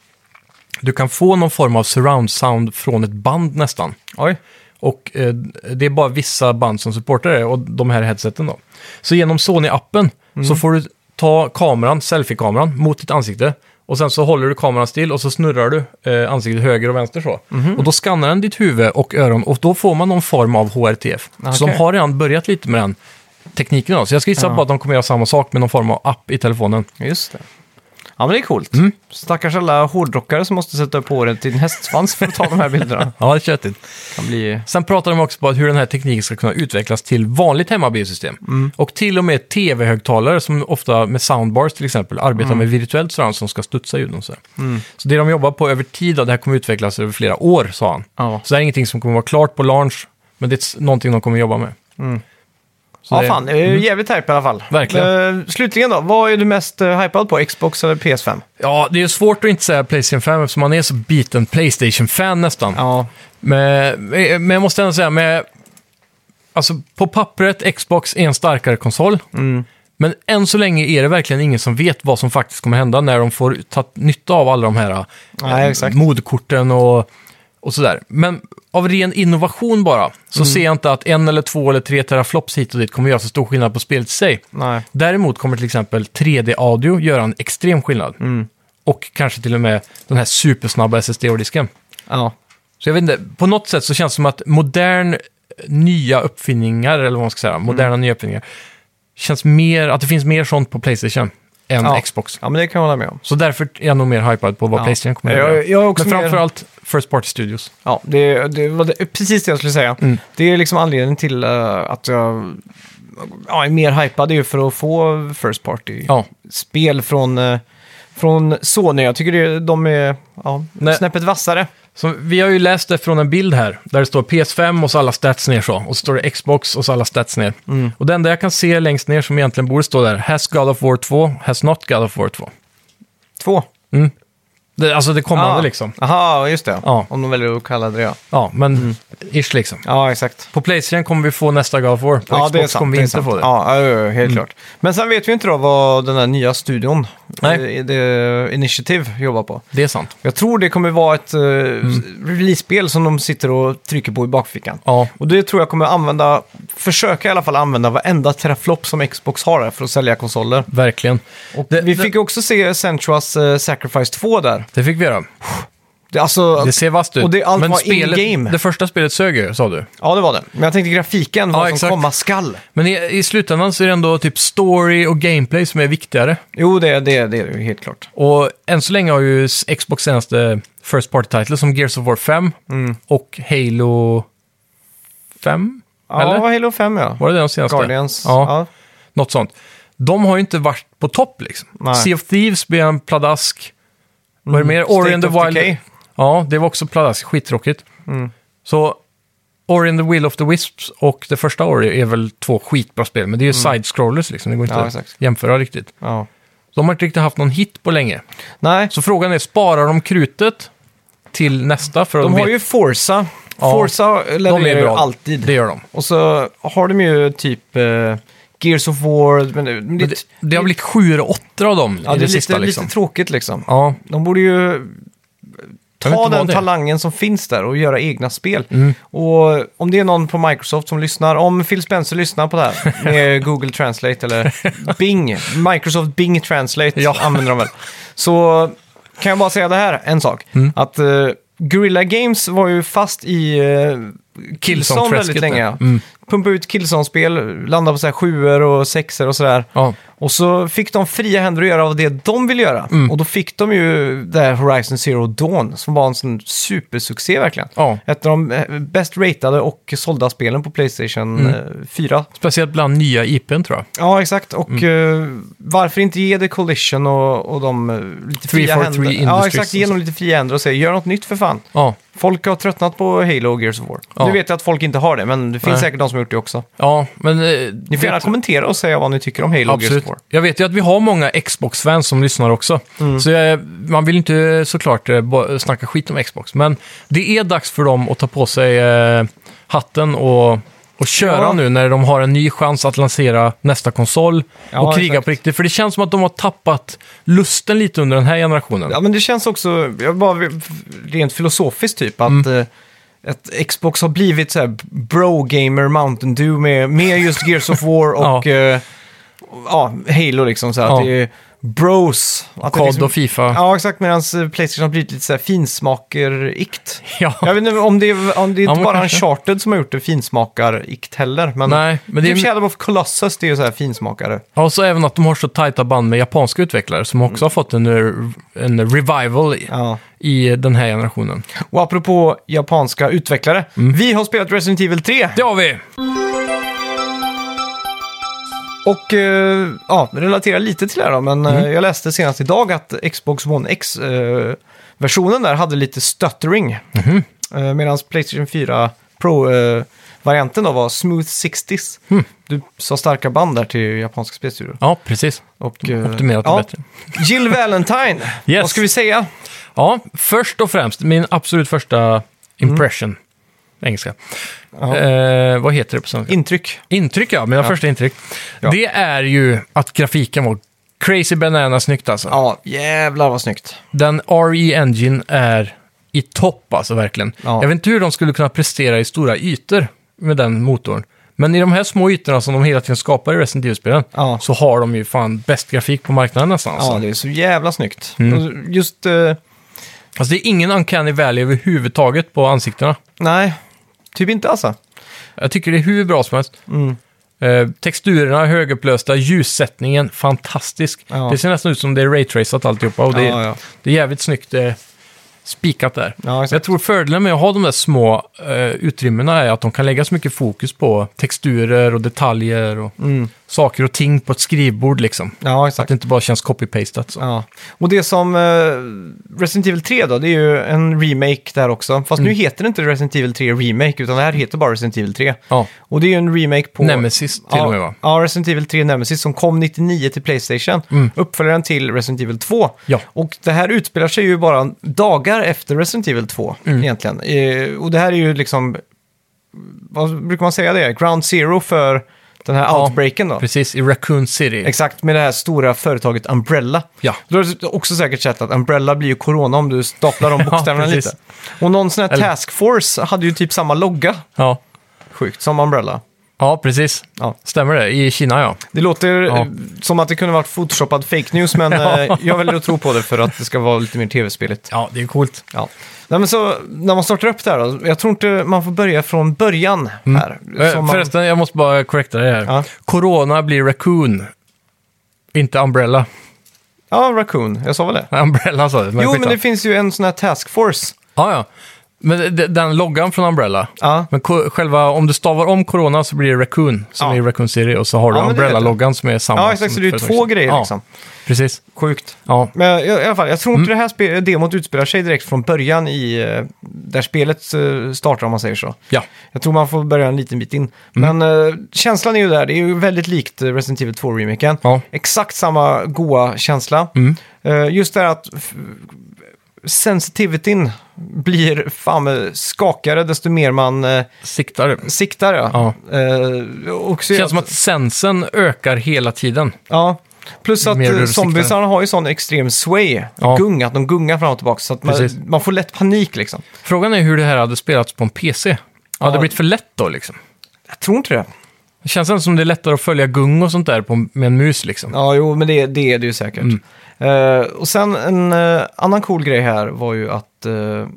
S2: du kan få någon form av surround-sound från ett band nästan.
S1: Oj.
S2: Och eh, det är bara vissa band som supportar det och de här headseten då. Så genom Sony-appen så får du ta kameran, selfie-kameran, mot ditt ansikte. Och sen så håller du kameran still och så snurrar du eh, ansiktet höger och vänster så. Och då skannar den ditt huvud och öron och då får man någon form av HRTF. Så de
S1: Okej.
S2: har redan börjat lite med den tekniken då. Så jag ska gissa på att de kommer göra samma sak med någon form av app i telefonen.
S1: Just det. Ja, men det är coolt.
S2: Mm.
S1: Stackars alla hårdrockare som måste sätta upp håret till en hästsvans för att ta de här bilderna.
S2: Ja, det är tjötigt.
S1: kan bli...
S2: Sen pratar de också om att hur den här tekniken ska kunna utvecklas till vanligt hemmabiosystem. Och till och med tv-högtalare som ofta med soundbars till exempel arbetar med virtuellt surround som ska studsa ljuden. och Så, så det de jobbar på över tid, då, det här kommer utvecklas över flera år, sa han.
S1: Ja.
S2: Så det här är ingenting som kommer vara klart på launch, men det är s- någonting de kommer jobba med. Så
S1: Ja,
S2: det- Mm.
S1: fan. Det är ju jävligt hype i alla fall.
S2: Verkligen.
S1: Eh, slutligen då, vad är du mest uh, hypad på? Xbox eller PS5?
S2: Ja, det är ju svårt att inte säga Playstation 5 eftersom man är så biten Playstation-fan nästan.
S1: Ja.
S2: Men, men jag måste ändå säga, med, alltså på pappret Xbox är en starkare konsol. Men än så länge är det verkligen ingen som vet vad som faktiskt kommer hända när de får ta nytta av alla de här
S1: Nej,
S2: eh,
S1: exakt.
S2: modkorten och, och sådär. Men av ren innovation bara, så ser jag inte att en eller två eller tre teraflops hit och dit kommer göra så stor skillnad på spelet i sig.
S1: Nej.
S2: Däremot kommer till exempel 3D-audio göra en extrem skillnad. Och kanske till och med den här supersnabba SSD-disken.
S1: Ja.
S2: Så jag vet inte, på något sätt så känns det som att modern eh, nya uppfinningar, eller vad man ska
S1: Mm.
S2: säga, moderna nya uppfinningar, känns mer, att det finns mer sånt på Playstation än
S1: Ja.
S2: Xbox.
S1: ja, men det kan jag hålla med om.
S2: Så därför är jag nog mer hypad på vad
S1: Ja.
S2: Playstation kommer att
S1: Jag-
S2: göra.
S1: jag är också
S2: Men
S1: mer-
S2: framförallt First Party Studios.
S1: Ja, det, det var det, precis det jag skulle säga.
S2: Mm.
S1: Det är liksom anledningen till eh, att jag ja, är mer hypad, det är ju för att få First
S2: Ja.
S1: Party-spel från, eh, från Sony. Jag tycker det, de är ja,
S2: Nej.
S1: snäppet vassare.
S2: Så vi har ju läst det från en bild här, där det står PS5 och så alla stats ner så, och så står det Xbox och så alla stats ner.
S1: Mm.
S2: Och det enda jag kan se längst ner som egentligen borde stå där, Has God of War 2, Has Not God of War 2.
S1: Två.
S2: Det, alltså det kommande
S1: Ah.
S2: liksom.
S1: Aha, just det.
S2: Ja.
S1: Om de väljer att kalla det det, ja.
S2: Ja, men
S1: Mm.
S2: ish liksom.
S1: Ja, exakt.
S2: På Playstation kommer vi få nästa God of War. På
S1: ja,
S2: Xbox kommer vi
S1: det är
S2: inte
S1: sant.
S2: få det. Mm.
S1: Ja, ja, ja, helt klart. Men sen vet vi inte då vad den här nya studion
S2: Nej.
S1: eh, det Initiative jobbar på.
S2: Det är sant.
S1: Jag tror det kommer vara ett eh, release-spel som de sitter och trycker på i bakfickan.
S2: Mm. Ja,
S1: Och det tror jag kommer använda, försöka i alla fall använda varenda teraflop som Xbox har där för att sälja konsoler.
S2: verkligen. det,
S1: Vi fick ju också se Sensuas eh, Sacrifice 2 där.
S2: det, det fick vi göra.
S1: Det, alltså,
S2: Det ser vasst ut.
S1: Och det, allt
S2: Men
S1: var
S2: spelet,
S1: in-game.
S2: Det första spelet sög ju, sa du.
S1: Ja, det var det. Men jag tänkte grafiken, vad
S2: Ja,
S1: som
S2: exakt.
S1: komma skall.
S2: Men i, i slutändan så är det ändå typ story och gameplay som är viktigare.
S1: Jo, det, det, det är det ju helt klart.
S2: Och än så länge har ju s- Xbox senaste First Party Title som Gears of War 5
S1: Mm.
S2: och Halo 5?
S1: Ja,
S2: Eller?
S1: Halo 5 ja.
S2: Var det den senaste?
S1: Guardians.
S2: Ja,
S1: Ja.
S2: något sånt. De har ju inte varit på topp liksom.
S1: Nej. Mm.
S2: Sea of Thieves blev en pladask. Vad är det mer?
S1: State
S2: Ori and the
S1: of
S2: Wild...
S1: Decay. Mm.
S2: Ja, det var också pladask. Skittråkigt. Så Ori and the Will of the Wisps och det första Ori är väl två skitbra spel, men det är ju side-scrollers liksom. Det går inte
S1: Mm. Ja,
S2: att
S1: exakt.
S2: jämföra riktigt.
S1: Ja.
S2: De har inte riktigt haft någon hit på länge.
S1: Nej,
S2: Så frågan är, sparar de krutet till nästa? För
S1: de
S2: vet,
S1: har ju Forza.
S2: Ja.
S1: Forza
S2: de
S1: levererar
S2: är
S1: ju
S2: bra.
S1: alltid.
S2: Det gör de.
S1: Och så har de ju typ eh, Gears of War. Men, det- men
S2: Men det, det har blivit sju eller åtta av dem
S1: ja,
S2: i
S1: det
S2: det,
S1: är
S2: sista
S1: lite,
S2: liksom.
S1: lite tråkigt liksom.
S2: ja,
S1: De borde ju
S2: vet
S1: ta
S2: inte
S1: den
S2: vad det är. Mm.
S1: talangen som finns där och göra egna spel. Och om det är någon på Microsoft som lyssnar, om Phil Spencer lyssnar på det här med Google Translate eller Bing, Microsoft Bing Translate
S2: Ja.
S1: använder de väl. Så kan jag bara säga det här, en sak.
S2: Mm.
S1: Att eh, Guerrilla Games var ju fast i eh, Killzone väldigt
S2: Killzone-träsket
S1: länge.
S2: där. Mm.
S1: Pumpade ut Killzone-spel, landade på så här sjuor och sexor och sådär.
S2: ja.
S1: Och så fick de fria händer att göra av det de vill göra. Och då fick de ju det här Horizon Zero Dawn som var en sån supersuccé verkligen.
S2: Ja.
S1: Ett av de eh, bäst ratade och sålda spelen på Playstation eh, 4.
S2: Speciellt bland nya IPn tror jag.
S1: Ja, exakt. Och eh, varför inte ge The Collision och, och de eh, lite fria
S2: 343
S1: händer? Ja,
S2: Industries
S1: exakt. Ge dem lite fria händer och säga gör något nytt för fan.
S2: Ja,
S1: Folk har tröttnat på Halo och Gears of War.
S2: Ja.
S1: Nu vet jag att folk inte har det, men det finns
S2: Nej.
S1: säkert de som har gjort det också.
S2: ja men... eh,
S1: Ni får gärna
S2: vet-
S1: kommentera och säga vad ni tycker om Halo och Gears
S2: Absolut.
S1: of War.
S2: Jag vet ju att vi har många Xbox-fans som lyssnar också.
S1: Mm.
S2: Så jag, man vill inte såklart eh, bo- snacka skit om Xbox. Men det är dags för dem att ta på sig eh, hatten och, och köra
S1: Ja.
S2: nu när de har en ny chans att lansera nästa konsol
S1: Ja,
S2: och kriga
S1: exakt.
S2: på riktigt. För det känns som att de har tappat lusten lite under den här generationen.
S1: Ja, men det känns också, jag bara vill- rent filosofiskt typ, att,
S2: Mm.
S1: eh, att Xbox har blivit så här bro-gamer Mountain Dew med, med just Gears of War och
S2: Ja.
S1: eh, ja. Halo liksom. Så här,
S2: Ja.
S1: Att det är bros. Att det
S2: COD
S1: liksom,
S2: och FIFA.
S1: Ja, exakt. Medan eh, Playstation har blivit lite så här finsmaker-ikt.
S2: Ja.
S1: Jag vet inte om det är, om det är
S2: Ja,
S1: inte
S2: men
S1: bara
S2: kanske.
S1: Uncharted som har gjort det finsmakar-ikt heller. Men,
S2: Nej, men det är-
S1: typ Shadow of Colossus, det är ju så här finsmakare.
S2: Ja, och så även att de har så tajta band med japanska utvecklare som också har fått en, eh, en revival i,
S1: Mm. Ja.
S2: i den här generationen.
S1: Och apropå japanska utvecklare.
S2: Mm.
S1: Vi har spelat Resident Evil 3.
S2: Det har vi!
S1: Och eh, ja, relatera lite till det här då, men eh, jag läste senast idag att Xbox One X-versionen där hade lite stuttering. Eh, Medan Playstation 4 Pro-varianten då var smooth 60s. Du sa starka band där till japanska spelstudior.
S2: Ja, precis.
S1: Och, eh,
S2: Optimerat det bättre.
S1: Jill Valentine,
S2: Yes.
S1: vad ska vi säga?
S2: Ja, först och främst, min absolut första impression. Engelska. Eh, vad heter det på svenska?
S1: Intryck.
S2: intryck, ja. Mina första intryck.
S1: Ja.
S2: Det är ju att grafiken var crazy banana snyggt alltså.
S1: Ja, jävlar vad snyggt.
S2: Den RE Engine är i topp alltså verkligen.
S1: Ja.
S2: Jag vet inte hur de skulle kunna prestera i stora ytor med den motorn. Men i de här små ytorna som de hela tiden skapar i Resident Evil-spelen
S1: Ja.
S2: så har de ju fan bäst grafik på marknaden nästan. Alltså.
S1: Ja, det är så jävla snyggt. Och Just, eh,
S2: Alltså, det är ingen uncanny valley överhuvudtaget på ansiktena.
S1: nej, typ inte alltså.
S2: Jag tycker det är hur bra som helst.
S1: Mm.
S2: Eh, texturerna, högupplösta, ljussättningen, fantastisk.
S1: Ja.
S2: Det ser nästan ut som det är raytracat alltihopa och det,
S1: Ja, ja.
S2: det är jävligt snyggt eh, spikat där.
S1: Ja, exakt.
S2: jag tror fördelen med att ha de där små eh, utrymmena är att de kan lägga så mycket fokus på texturer och detaljer och saker och ting på ett skrivbord liksom.
S1: Ja,
S2: Så
S1: Mm. exakt.
S2: att det inte bara känns copy-pastat. Så.
S1: Ja, och det som eh, Resident Evil 3 då, det är ju en remake där också. Fast
S2: Mm.
S1: nu heter det inte Resident Evil 3 Remake, utan det här heter bara Resident Evil 3.
S2: Ja.
S1: Och det är ju en remake på...
S2: Nemesis till
S1: ja,
S2: och med va?
S1: Ja, Resident Evil 3 Nemesis som kom 99 till Playstation. Uppföljaren till Resident Evil 2.
S2: Mm. Ja.
S1: Och det här utspelar sig ju bara dagar efter Resident Evil 2
S2: Mm.
S1: egentligen. Eh, och det här är ju liksom, vad brukar man säga det? Ground zero för Den här
S2: Ja,
S1: outbreaken då.
S2: Precis, i Raccoon City.
S1: Exakt, med det här stora företaget Umbrella.
S2: Ja.
S1: Du har också säkert sett att Umbrella blir ju Corona om du staplar om
S2: Ja,
S1: bokstäverna
S2: precis.
S1: lite. Och någon sån här
S2: Eller-
S1: Taskforce hade ju typ samma logga,
S2: ja.
S1: sjukt, som Umbrella.
S2: ja, precis.
S1: Ja.
S2: Stämmer det? I Kina, ja.
S1: Det låter
S2: Ja.
S1: eh, som att det kunde varit photoshoppad fake news, men eh, jag väljer att tro på det för att det ska vara lite mer tv-speligt.
S2: Ja, det är coolt.
S1: Ja. Nej, men så, när man startar upp det här då, jag tror inte man får börja från början här.
S2: Eh,
S1: Som man-
S2: Förresten, jag måste bara korrekta det här.
S1: Ja.
S2: Corona blir Raccoon. Inte Umbrella.
S1: Ja, Raccoon, jag sa väl det?
S2: Nej, Umbrella sa du.
S1: jo, men
S2: skitsamma.
S1: det finns ju en sån här Taskforce.
S2: Ja, ja. Men det- det- den loggan från Umbrella.
S1: Ja.
S2: Men ko- själva, om du stavar om Corona så blir det Raccoon som
S1: Ja.
S2: är i Raccoon City och så har du
S1: Ja, men det vet jag.
S2: Umbrella-loggan som är samma.
S1: Ja, exakt,
S2: som
S1: så det är ju
S2: för-
S1: två grejer
S2: ja,
S1: liksom.
S2: Precis.
S1: Sjukt.
S2: Ja.
S1: Men i, i alla fall, jag tror
S2: Mm.
S1: inte det här spe- demot utspelar sig direkt från början i eh, där spelet eh, startar om man säger så.
S2: ja. Mm.
S1: Jag tror man får börja en liten bit in. Men eh, känslan är ju där, det är ju väldigt likt eh, Resident Evil 2-remaken.
S2: Ja. Mm.
S1: Exakt samma goa känsla. Eh, just det här att f- sensitivityn blir fan med skakigare desto mer man eh,
S2: Siktar.
S1: siktar. Ja. Eh, och så-
S2: Det känns som att sensen ökar hela tiden.
S1: Ja. Plus att
S2: Mer
S1: eh,
S2: du
S1: zombiesarna har ju sån extrem sway,
S2: Ja.
S1: gung, att de gungar fram och tillbaka. Så att man,
S2: Precis.
S1: man får lätt panik liksom.
S2: Frågan är hur det här hade spelats på en PC. Hade det
S1: Ja.
S2: blivit för lätt då liksom?
S1: Jag tror inte det.
S2: Det känns ändå som det är lättare att följa gung och sånt där på, med en mus liksom.
S1: Ja, jo, men det, det är det ju säkert. Eh, och sen en eh, annan cool grej här var ju att, eh,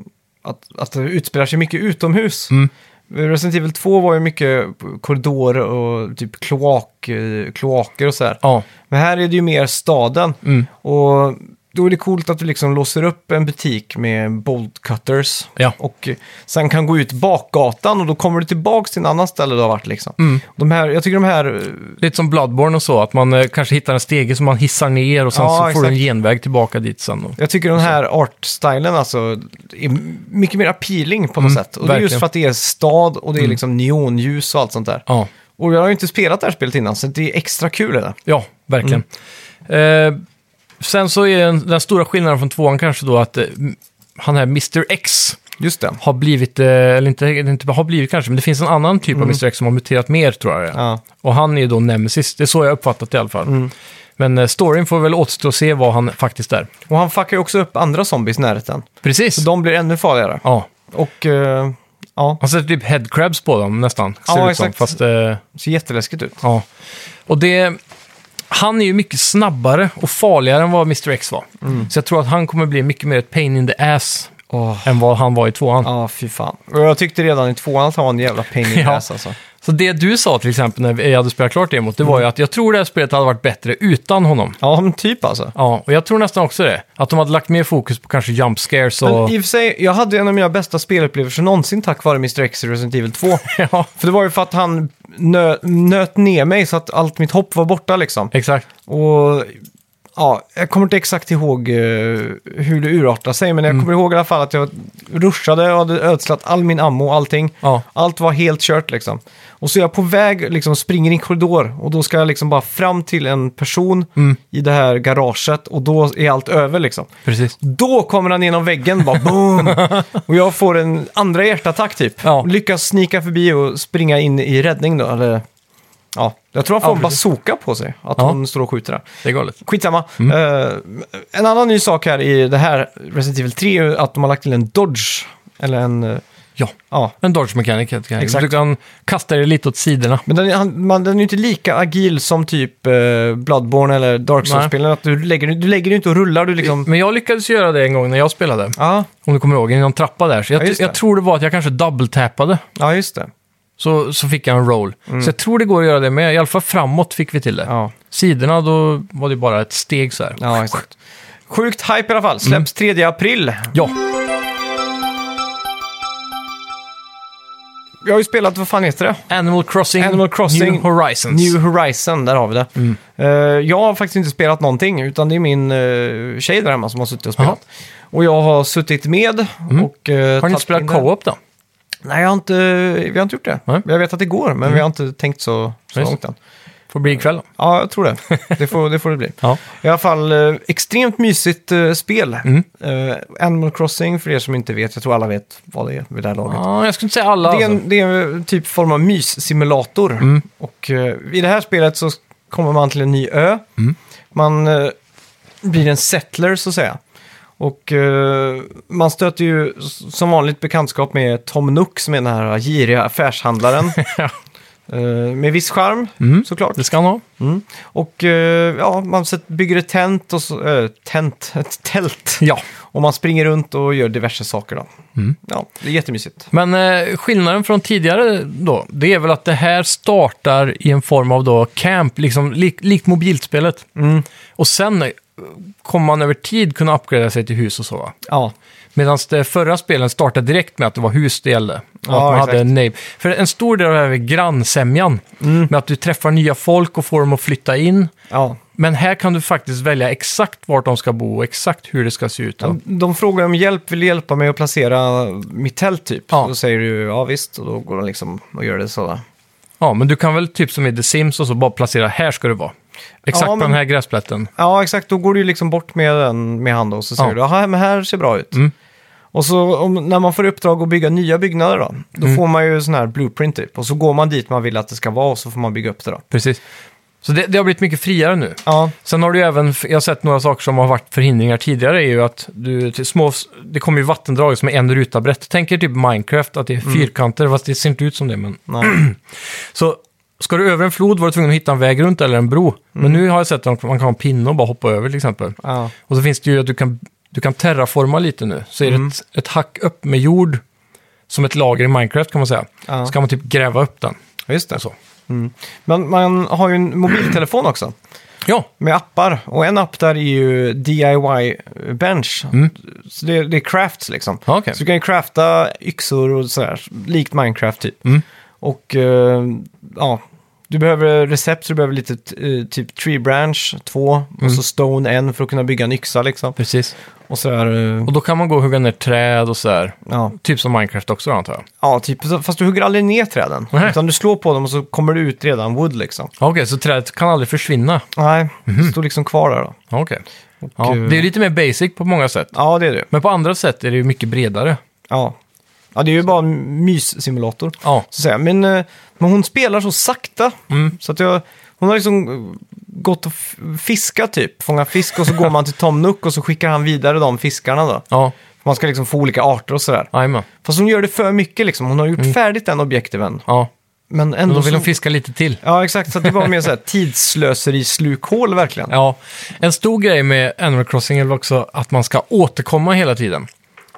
S1: att, att det utspelar sig mycket utomhus.
S2: Mm.
S1: Resident Evil 2 var ju mycket korridorer och typ kloak, eh, kloaker och så här.
S2: Ja,
S1: Men här är det ju mer staden.
S2: Mm.
S1: Och då är det coolt att du liksom låser upp en butik med bolt cutters.
S2: Ja.
S1: Och eh, sen kan gå ut bakgatan och då kommer du tillbaka till en annan ställe du har varit liksom.
S2: Mm.
S1: De här, jag tycker de här... eh,
S2: lite som Bloodborne och så, att man eh, kanske hittar en stege som man hissar ner och sen
S1: Ja,
S2: så får du en
S1: exakt.
S2: genväg tillbaka dit sen. Och...
S1: Jag tycker den här artstylen alltså är m- mycket mer appealing på något
S2: Mm,
S1: sätt. Och det är
S2: verkligen. Mm.
S1: just för att det är stad och det är liksom neonljus och allt sånt där.
S2: Ja.
S1: Och jag har ju inte spelat det här spelet innan så det är extra kul det där.
S2: Ja, verkligen. Eh, sen så är den, den stora skillnaden från tvåan kanske då att eh, m- han här Mr. X
S1: Just det.
S2: har blivit, eh, eller inte, eller inte har blivit kanske, men det finns en annan typ av Mr. X som har muterat mer tror jag. det är.
S1: Mm. Ja. Mm.
S2: Och han är då Nemesis, det är så jag uppfattat det i alla fall. Men eh, storyn får väl återstå att se vad han faktiskt är.
S1: Och han fuckar ju också upp andra zombies i närheten.
S2: Precis.
S1: Så de blir ännu farligare.
S2: Ja.
S1: Och eh, ja,
S2: Han sätter typ headcrabs på dem nästan. Ser
S1: Ja,
S2: det ut
S1: exakt.
S2: Som, fast, eh,
S1: ser jätteläskigt ut.
S2: ja. Och det... Han är ju mycket snabbare och farligare än vad Mr. X var.
S1: Mm.
S2: Så jag tror att han kommer bli mycket mer ett pain in the ass än vad han var i tvåan.
S1: Ja, fy fan. Och jag tyckte redan i tvåan att han var en jävla pain in the
S2: Ja.
S1: ass alltså.
S2: Så det du sa till exempel när jag hade spelat klart demot, det var
S1: Mm.
S2: ju att jag tror det här spelet hade varit bättre utan honom.
S1: Ja, men typ alltså.
S2: Ja, och jag tror nästan också det. Att de hade lagt mer fokus på kanske jump scares och...
S1: Men i och för sig, jag hade en av mina bästa spelupplevelser någonsin tack vare Mr. X i Resident Evil 2.
S2: ja,
S1: För det var ju för att han nö, nöt ner mig så att allt mitt hopp var borta liksom.
S2: exakt.
S1: Och ja, jag kommer inte exakt ihåg eh, hur det urartade sig, men jag kommer ihåg i alla fall att jag ruschade och hade ödslat all min ammo och allting.
S2: Ja.
S1: Allt var helt kört liksom. Och så är jag på väg, liksom springer i en korridor och då ska jag liksom bara fram till en person i det här garaget och då är allt över liksom.
S2: Precis.
S1: Då kommer han genom väggen, bara boom! Och jag får en andra hjärtattack typ.
S2: Ja.
S1: Lyckas snika förbi och springa in i räddning då, eller... Ja, jag tror han får
S2: Ja,
S1: en
S2: precis.
S1: bazooka på sig, att
S2: Ja. Mm.
S1: hon står och skjuter där.
S2: Det är galet.
S1: Skitsamma. Eh, en annan ny sak här i det här Resident Evil 3 är ju att de har lagt till en Dodge. Eller en... eh,
S2: Ja,
S1: ja.
S2: en dodge mechanic helt enkelt.
S1: Exakt.
S2: Du kan kasta dig lite åt sidorna.
S1: Men den, är- han, man, den är ju inte lika agil som typ eh, Bloodborne eller Dark Souls-spelen. Att du lägger, du lägger den inte och rullar, du liksom...
S2: Men jag lyckades göra det en gång när jag spelade.
S1: Ja,
S2: Om du kommer ihåg, i någon trappa där. Så jag,
S1: Ja, just det.
S2: jag tror det var att jag kanske double-tappade.
S1: ja just det.
S2: Så, så fick jag en roll. Så jag tror det går att göra det med. I alla fall framåt fick vi till det.
S1: Mm. Ja.
S2: Sidorna, då var det bara ett steg så här.
S1: Ja, exakt. Sjukt hype i
S2: Mm.
S1: alla fall. Släpps 3 april.
S2: Ja,
S1: Jag har ju spelat, vad fan heter det?
S2: Animal Crossing,
S1: Animal Crossing
S2: New Horizons. Mm.
S1: New Horizon, där har vi det. Eh, jag har faktiskt inte spelat någonting, utan det är min uh, tjej där hemma som har suttit och spelat. Och jag har suttit med och... eh,
S2: Mm. Har ni
S1: tagit
S2: inte spelat
S1: in det här.
S2: co-op då?
S1: Nej, jag har inte, vi har inte gjort det.
S2: Nej. Mm.
S1: Jag vet att det går, men vi har inte tänkt så, så
S2: Just.
S1: långt än.
S2: Får bli ikväll då.
S1: Ja, jag tror det. Det får det, får det bli.
S2: Ja.
S1: I alla fall eh, extremt mysigt eh, spel.
S2: Mm.
S1: Eh, Animal Crossing, för er som inte vet, jag tror alla vet vad det är vid det här laget.
S2: Ja, jag skulle inte säga alla.
S1: Det är,
S2: alltså. Mm.
S1: en, det är en typ form av myssimulator. Och eh, i det här spelet så kommer man till en ny ö.
S2: Mm.
S1: Man eh, blir en settler så att säga. Och eh, man stöter ju s- som vanligt bekantskap med Tom Nook som är den här giriga affärshandlaren.
S2: Ja. Mm.
S1: Eh, med viss charm såklart.
S2: Det ska han ha.
S1: Och eh, ja, man sätt- bygger ett tält och så, eh, tält, ett tält.
S2: Ja. Mm.
S1: Och man springer runt och gör diverse saker då. Ja, det är jättemysigt.
S2: Men eh, skillnaden från tidigare då, det är väl att det här startar i en form av då camp, liksom lik, likt mobilspelet.
S1: Mm.
S2: Och sen eh, kommer man över tid kunna uppgradera sig till hus och så va?
S1: Ja,
S2: Medan det förra spelen startade direkt med att det var hus det gällde. Och
S1: Ja,
S2: att man hade
S1: exakt.
S2: en name. För en stor del av det här är grannsämjan.
S1: Mm.
S2: Med att du träffar nya folk och får dem att flytta in.
S1: ja.
S2: Men här kan du faktiskt välja exakt vart de ska bo och exakt hur det ska se ut. Och,
S1: De frågar om hjälp, vill du hjälpa mig att placera mitt tält typ?
S2: Ja.
S1: Då säger du ja visst, och då går de liksom och gör det sådär.
S2: Ja, men du kan väl typ som i The Sims och så bara placera här ska du vara. Exakt
S1: Ja,
S2: på
S1: men-
S2: den här gräsplätten.
S1: Ja exakt, då går du ju liksom bort med den med hand och så säger
S2: Ja.
S1: du ja Mm. men här ser bra ut. Och så om, när man får i uppdrag att bygga nya byggnader då, då får man ju sån här blueprint typ. Och så går man dit man vill att det ska vara och så får man bygga upp det då.
S2: Precis. Så det, det har blivit mycket friare nu.
S1: Ja,
S2: Sen har du ju även, jag har sett några saker som har varit förhindringar tidigare, är ju att du, till små, det kommer ju vattendrag som är en ruta brett. Tänk er typ Minecraft, att det är fyrkanter, fast det ser inte ut som det. Men...
S1: Mm. nej.
S2: Så ska du över en flod var du tvungen att hitta en väg runt eller en bro. Men nu har jag sett att man kan ha en pinne och bara hoppa över till exempel.
S1: Mm. ja.
S2: Och så finns det ju att du kan, du kan terraforma lite nu. Så
S1: Mm.
S2: är det ett, ett hack upp med jord, som ett lager i Minecraft kan man säga.
S1: Ja.
S2: Så kan man typ gräva upp den.
S1: Just det.
S2: Och så.
S1: Mm. Men man har ju en mobiltelefon också
S2: Ja,
S1: med appar. Och en app där är ju DIY Bench. Så det, det är crafts liksom.
S2: Ja, okej.
S1: Så du kan ju crafta yxor och sådär, likt Minecraft typ.
S2: Mm.
S1: Och eh, ja, du behöver recept, så du behöver lite eh, typ tree branch 2
S2: Mm.
S1: och så stone en för att kunna bygga en yxa liksom.
S2: precis.
S1: Och sådär, eh,
S2: Och då kan man gå och hugga ner träd och så här.
S1: ja.
S2: Typ som Minecraft också antar jag.
S1: ja, typ. Fast du hugger aldrig ner träden.
S2: Nej.
S1: Utan du slår på dem och så kommer det ut redan wood liksom.
S2: Ja, Okej, så trädet kan aldrig försvinna.
S1: Nej,
S2: Mhm.
S1: det står liksom kvar där då.
S2: Ja, Okej. Ja,
S1: eh,
S2: det är lite mer basic på många sätt.
S1: Ja, det är det.
S2: Men på andra sätt är det ju mycket bredare.
S1: Ja. ja, det är ju bara en myssimulator.
S2: Ja, Mm.
S1: Så att säga. Men, eh, men hon spelar så sakta. Så att jag, hon har liksom eh, gått och f- fiskat typ. Fångat fisk och så går man till Tom Nook och så skickar han vidare de fiskarna då.
S2: ja,
S1: Man ska liksom få olika arter och sådär.
S2: jajamän.
S1: Fast hon gör det för mycket liksom. Hon har gjort färdigt den objektiven.
S2: Ja.
S1: Men ändå
S2: Mm. Men då vill
S1: så...
S2: de fiska lite till.
S1: Ja, exakt. Så att det var mer såhär tidsslöseri-slukhål verkligen.
S2: Ja, en stor grej med Animal Crossing är väl också att man ska återkomma hela tiden.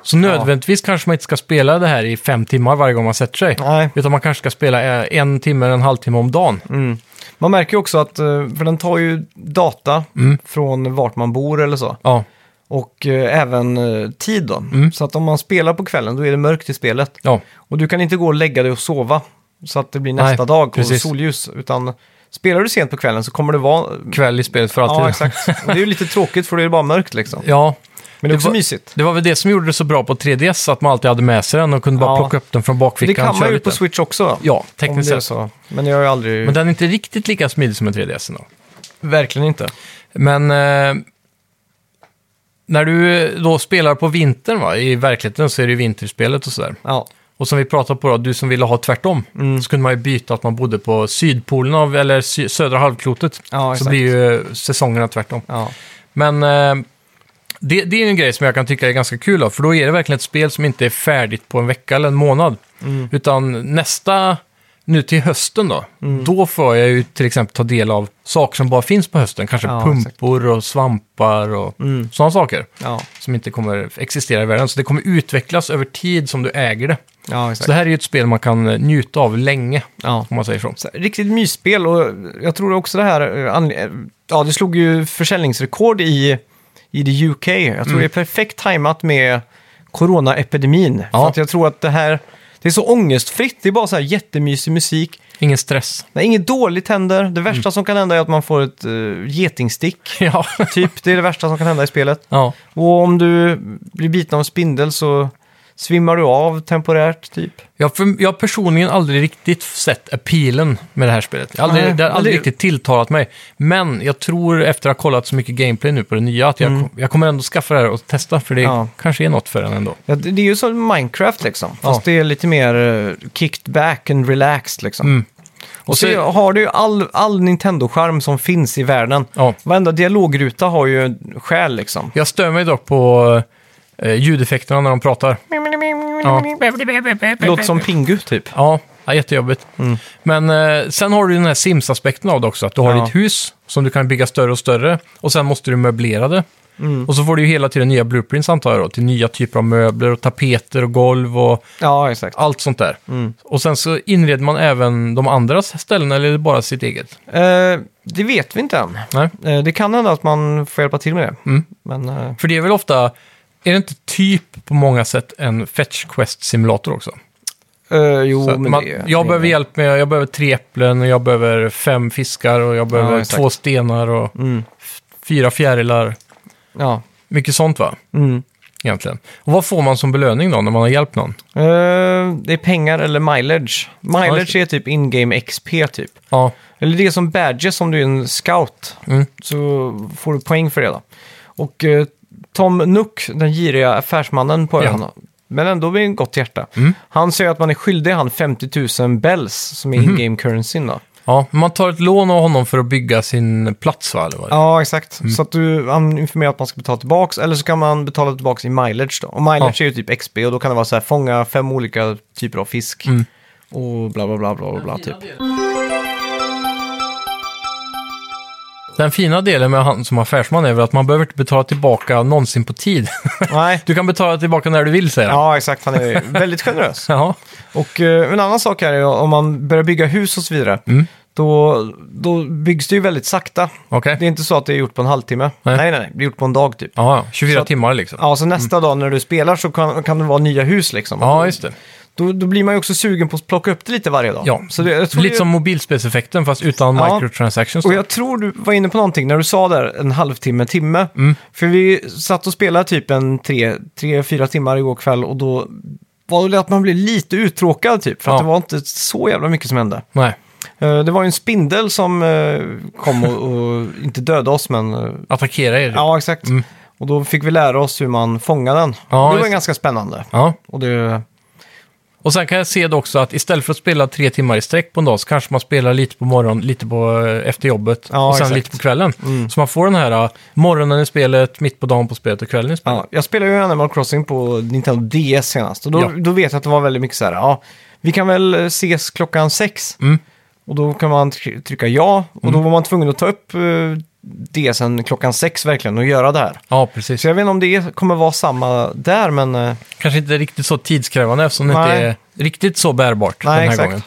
S2: Så nödvändigtvis kanske man inte ska spela det här i fem timmar varje gång man sätter sig.
S1: Nej.
S2: Utan man kanske ska spela eh, en timme eller en halvtimme om dagen.
S1: Man märker ju också att, eh, för den tar ju data
S2: Mm.
S1: från vart man bor eller så.
S2: Ja,
S1: Och eh, även eh, tid då.
S2: Mm.
S1: Så att om man spelar på kvällen då är det mörkt i spelet.
S2: ja,
S1: Och du kan inte gå och lägga dig och sova så att det blir nästa
S2: Nej,
S1: dag och
S2: precis.
S1: solljus. Utan spelar du sent på kvällen så kommer det vara...
S2: kväll i spelet för alltid.
S1: Ja, exakt. Och det är ju lite tråkigt för det är bara mörkt liksom.
S2: Ja,
S1: Men det är också
S2: var-
S1: mysigt.
S2: det var väl det som gjorde det så bra på 3DS, så att man alltid hade med sig den och kunde bara
S1: Ja.
S2: plocka upp den från
S1: Men
S2: bakfickan.
S1: det kan
S2: köra
S1: man ju
S2: lite.
S1: på Switch också.
S2: Ja,
S1: om
S2: tekniskt
S1: det är
S2: sett.
S1: så. Men jag har ju aldrig...
S2: Men den är inte riktigt lika smidig som en 3DS ändå.
S1: Verkligen inte.
S2: Men eh, när du eh, då spelar på vintern va, i verkligheten så är det ju vinterspelet och sådär.
S1: Ja.
S2: Och som vi pratade på då, du som ville ha tvärtom,
S1: Mm.
S2: så kunde man ju byta att man bodde på sydpolen av, eller sy- södra halvklotet.
S1: Ja,
S2: så
S1: exakt.
S2: blir ju eh, säsongerna tvärtom.
S1: Ja.
S2: Men eh, det, det är ju en grej som jag kan tycka är ganska kul av, för då är det verkligen ett spel som inte är färdigt på en vecka eller en månad.
S1: Mm.
S2: Utan nästa, nu till hösten då,
S1: Mm.
S2: då får jag ju till exempel ta del av saker som bara finns på hösten. Kanske
S1: Ja, Mm.
S2: pumpor och svampar och sådana saker.
S1: Ja.
S2: Som inte kommer existera i världen. Så det kommer utvecklas över tid som du äger det.
S1: ja,
S2: Så det
S1: exakt.
S2: här är ju ett spel man kan eh, njuta av länge,
S1: Ja.
S2: om man säger så.
S1: Så här, riktigt mysspel och jag tror också det här, eh, anle- eh, ja det slog ju försäljningsrekord i, i det UK. Jag tror det är perfekt tajmat med coronaepidemin.
S2: Ja.
S1: För att jag tror att det här, det är så ångestfritt, det är bara så här jättemysig musik.
S2: Ingen stress.
S1: När inget dåligt händer, det värsta som kan hända är att man får ett uh, getingstick.
S2: ja.
S1: Typ, det är det värsta som kan hända i spelet.
S2: ja.
S1: Och om du blir biten av en spindel så Svimmar du av temporärt typ?
S2: Jag, för, jag har personligen aldrig riktigt sett appealen med det här spelet. Jag har aldrig,
S1: Nej,
S2: det har aldrig
S1: eller-
S2: riktigt tilltalat mig. Men jag tror efter att ha kollat så mycket gameplay nu på det nya att jag, kom- jag kommer ändå skaffa det här och testa för det
S1: Mm. Ja.
S2: kanske är något för en ändå.
S1: Ja, det, det är ju som Minecraft liksom. Fast det är lite mer eh, kicked back and relaxed liksom. Och så,
S2: Mm. så-
S1: har du ju all, all Nintendo-charm som finns i världen.
S2: Ja.
S1: Varenda dialogruta har ju en själ liksom.
S2: Jag stör mig dock på eh, ljudeffekterna när de pratar. Ja,
S1: Det låter som Pingu typ.
S2: ja, ja jättejobbigt. Men eh, sen har du den här Sims-aspekten av det också. Att du har
S1: Ja.
S2: ditt hus som du kan bygga större och större. Och sen måste du möblera det. Och så får du ju hela tiden nya blueprints antar jag då. Till nya typer av möbler och tapeter och golv och
S1: Ja, exakt.
S2: allt sånt där. Och sen så inreder man även de andras ställen eller är det bara sitt eget?
S1: Eh, det vet vi inte än.
S2: Nej. Mm.
S1: Eh, det kan hända att man får hjälpa till med det. Men eh,
S2: För det är väl ofta, är det inte typ på många sätt en fetch quest-simulator också?
S1: eh, jo,
S2: Så att
S1: men
S2: man,
S1: det,
S2: jag
S1: det,
S2: behöver hjälp med, jag behöver tre äpplen och jag behöver fem fiskar och jag behöver
S1: exakt.
S2: två stenar och
S1: Mm.
S2: f- fyra fjärilar.
S1: Ja.
S2: Mycket sånt va?
S1: Mm.
S2: Egentligen. Och vad får man som belöning då när man har hjälpt någon?
S1: Eh, det är pengar eller mileage.
S2: Ja,
S1: Mileage
S2: just
S1: är typ in-game XP typ.
S2: Ja,
S1: Eller det är som badges om du är en scout.
S2: Mm.
S1: Så får du poäng för det då. Och eh, Tom Nook, den giriga affärsmannen på
S2: Ja.
S1: ön, men ändå med en gott hjärta. Han säger att man är skyldig han 50 000 bells som är in-game currencyn då.
S2: ja. man tar ett lån av honom för att bygga sin plats va? Eller vad? det är?
S1: Ja, exakt. Så att du, han informerar att man ska betala tillbaks eller så kan man betala tillbaks i mileage då. Och mileage är ju typ XP och då kan det vara så här, fånga fem olika typer av fisk. Och bla bla bla bla bla, bla typ.
S2: Den fina delen med han som affärsman är väl att man behöver inte betala tillbaka någonsin på tid.
S1: Nej.
S2: du kan betala tillbaka när du vill säger han.
S1: Ja, exakt. Han är väldigt generös.
S2: Ja.
S1: Och eh, en annan sak här är om man börjar bygga hus och så vidare.
S2: Mm.
S1: Då, då byggs det ju väldigt sakta.
S2: Okej.
S1: Det är inte så att det är gjort på en halvtimme. Nej,
S2: Nej.
S1: nej, nej. Det är gjort på en dag typ.
S2: Ja, ja. 24
S1: Så att-
S2: timmar liksom.
S1: Ja, så nästa dag när du spelar så kan, kan det vara nya hus liksom.
S2: Ja, just det.
S1: Då, då blir man ju också sugen på att plocka upp det lite varje dag.
S2: Ja.
S1: Så det, jag tror
S2: Lite
S1: det-
S2: som mobilspelseffekten fast utan
S1: Ja.
S2: microtransactions.
S1: Och
S2: då.
S1: jag tror du var inne på någonting när du sa där en halvtimme, timme.
S2: Mm.
S1: För vi satt och spelade typ en tre, tre, fyra timmar igår kväll och då var det att man blev lite uttråkad typ. För att
S2: Ja.
S1: det var inte så jävla mycket som hände.
S2: Nej.
S1: Eh, Det var ju en spindel som eh, kom och, och inte dödade oss men... eh,
S2: Attackera er.
S1: Ja, exakt. Och då fick vi lära oss hur man fångar den.
S2: Mm. Ja,
S1: det var
S2: just det.
S1: ganska spännande.
S2: ja.
S1: Och det...
S2: Och sen kan jag se det också att istället för att spela tre timmar i sträck på en dag så kanske man spelar lite på morgonen, lite på, eh, efter jobbet
S1: Ja,
S2: och sen
S1: exakt. Mm.
S2: lite på kvällen. Så man får den här eh, morgonen i spelet, mitt på dagen på spelet och kvällen i spelet.
S1: Ja, jag spelade ju Animal Crossing på Nintendo DS senast. Och då,
S2: Ja.
S1: då vet jag att det var väldigt mycket så här, ja, vi kan väl eh, ses klockan sex.
S2: Mm.
S1: Och då kan man try- trycka ja. Och då var man tvungen att ta upp eh, DSen klockan sex verkligen och göra det här.
S2: Ja, precis.
S1: Så jag vet inte om det kommer vara samma där, men... eh,
S2: Kanske inte riktigt så tidskrävande eftersom det
S1: Nej.
S2: inte är riktigt så bärbart
S1: Nej,
S2: den här
S1: exakt.
S2: gången.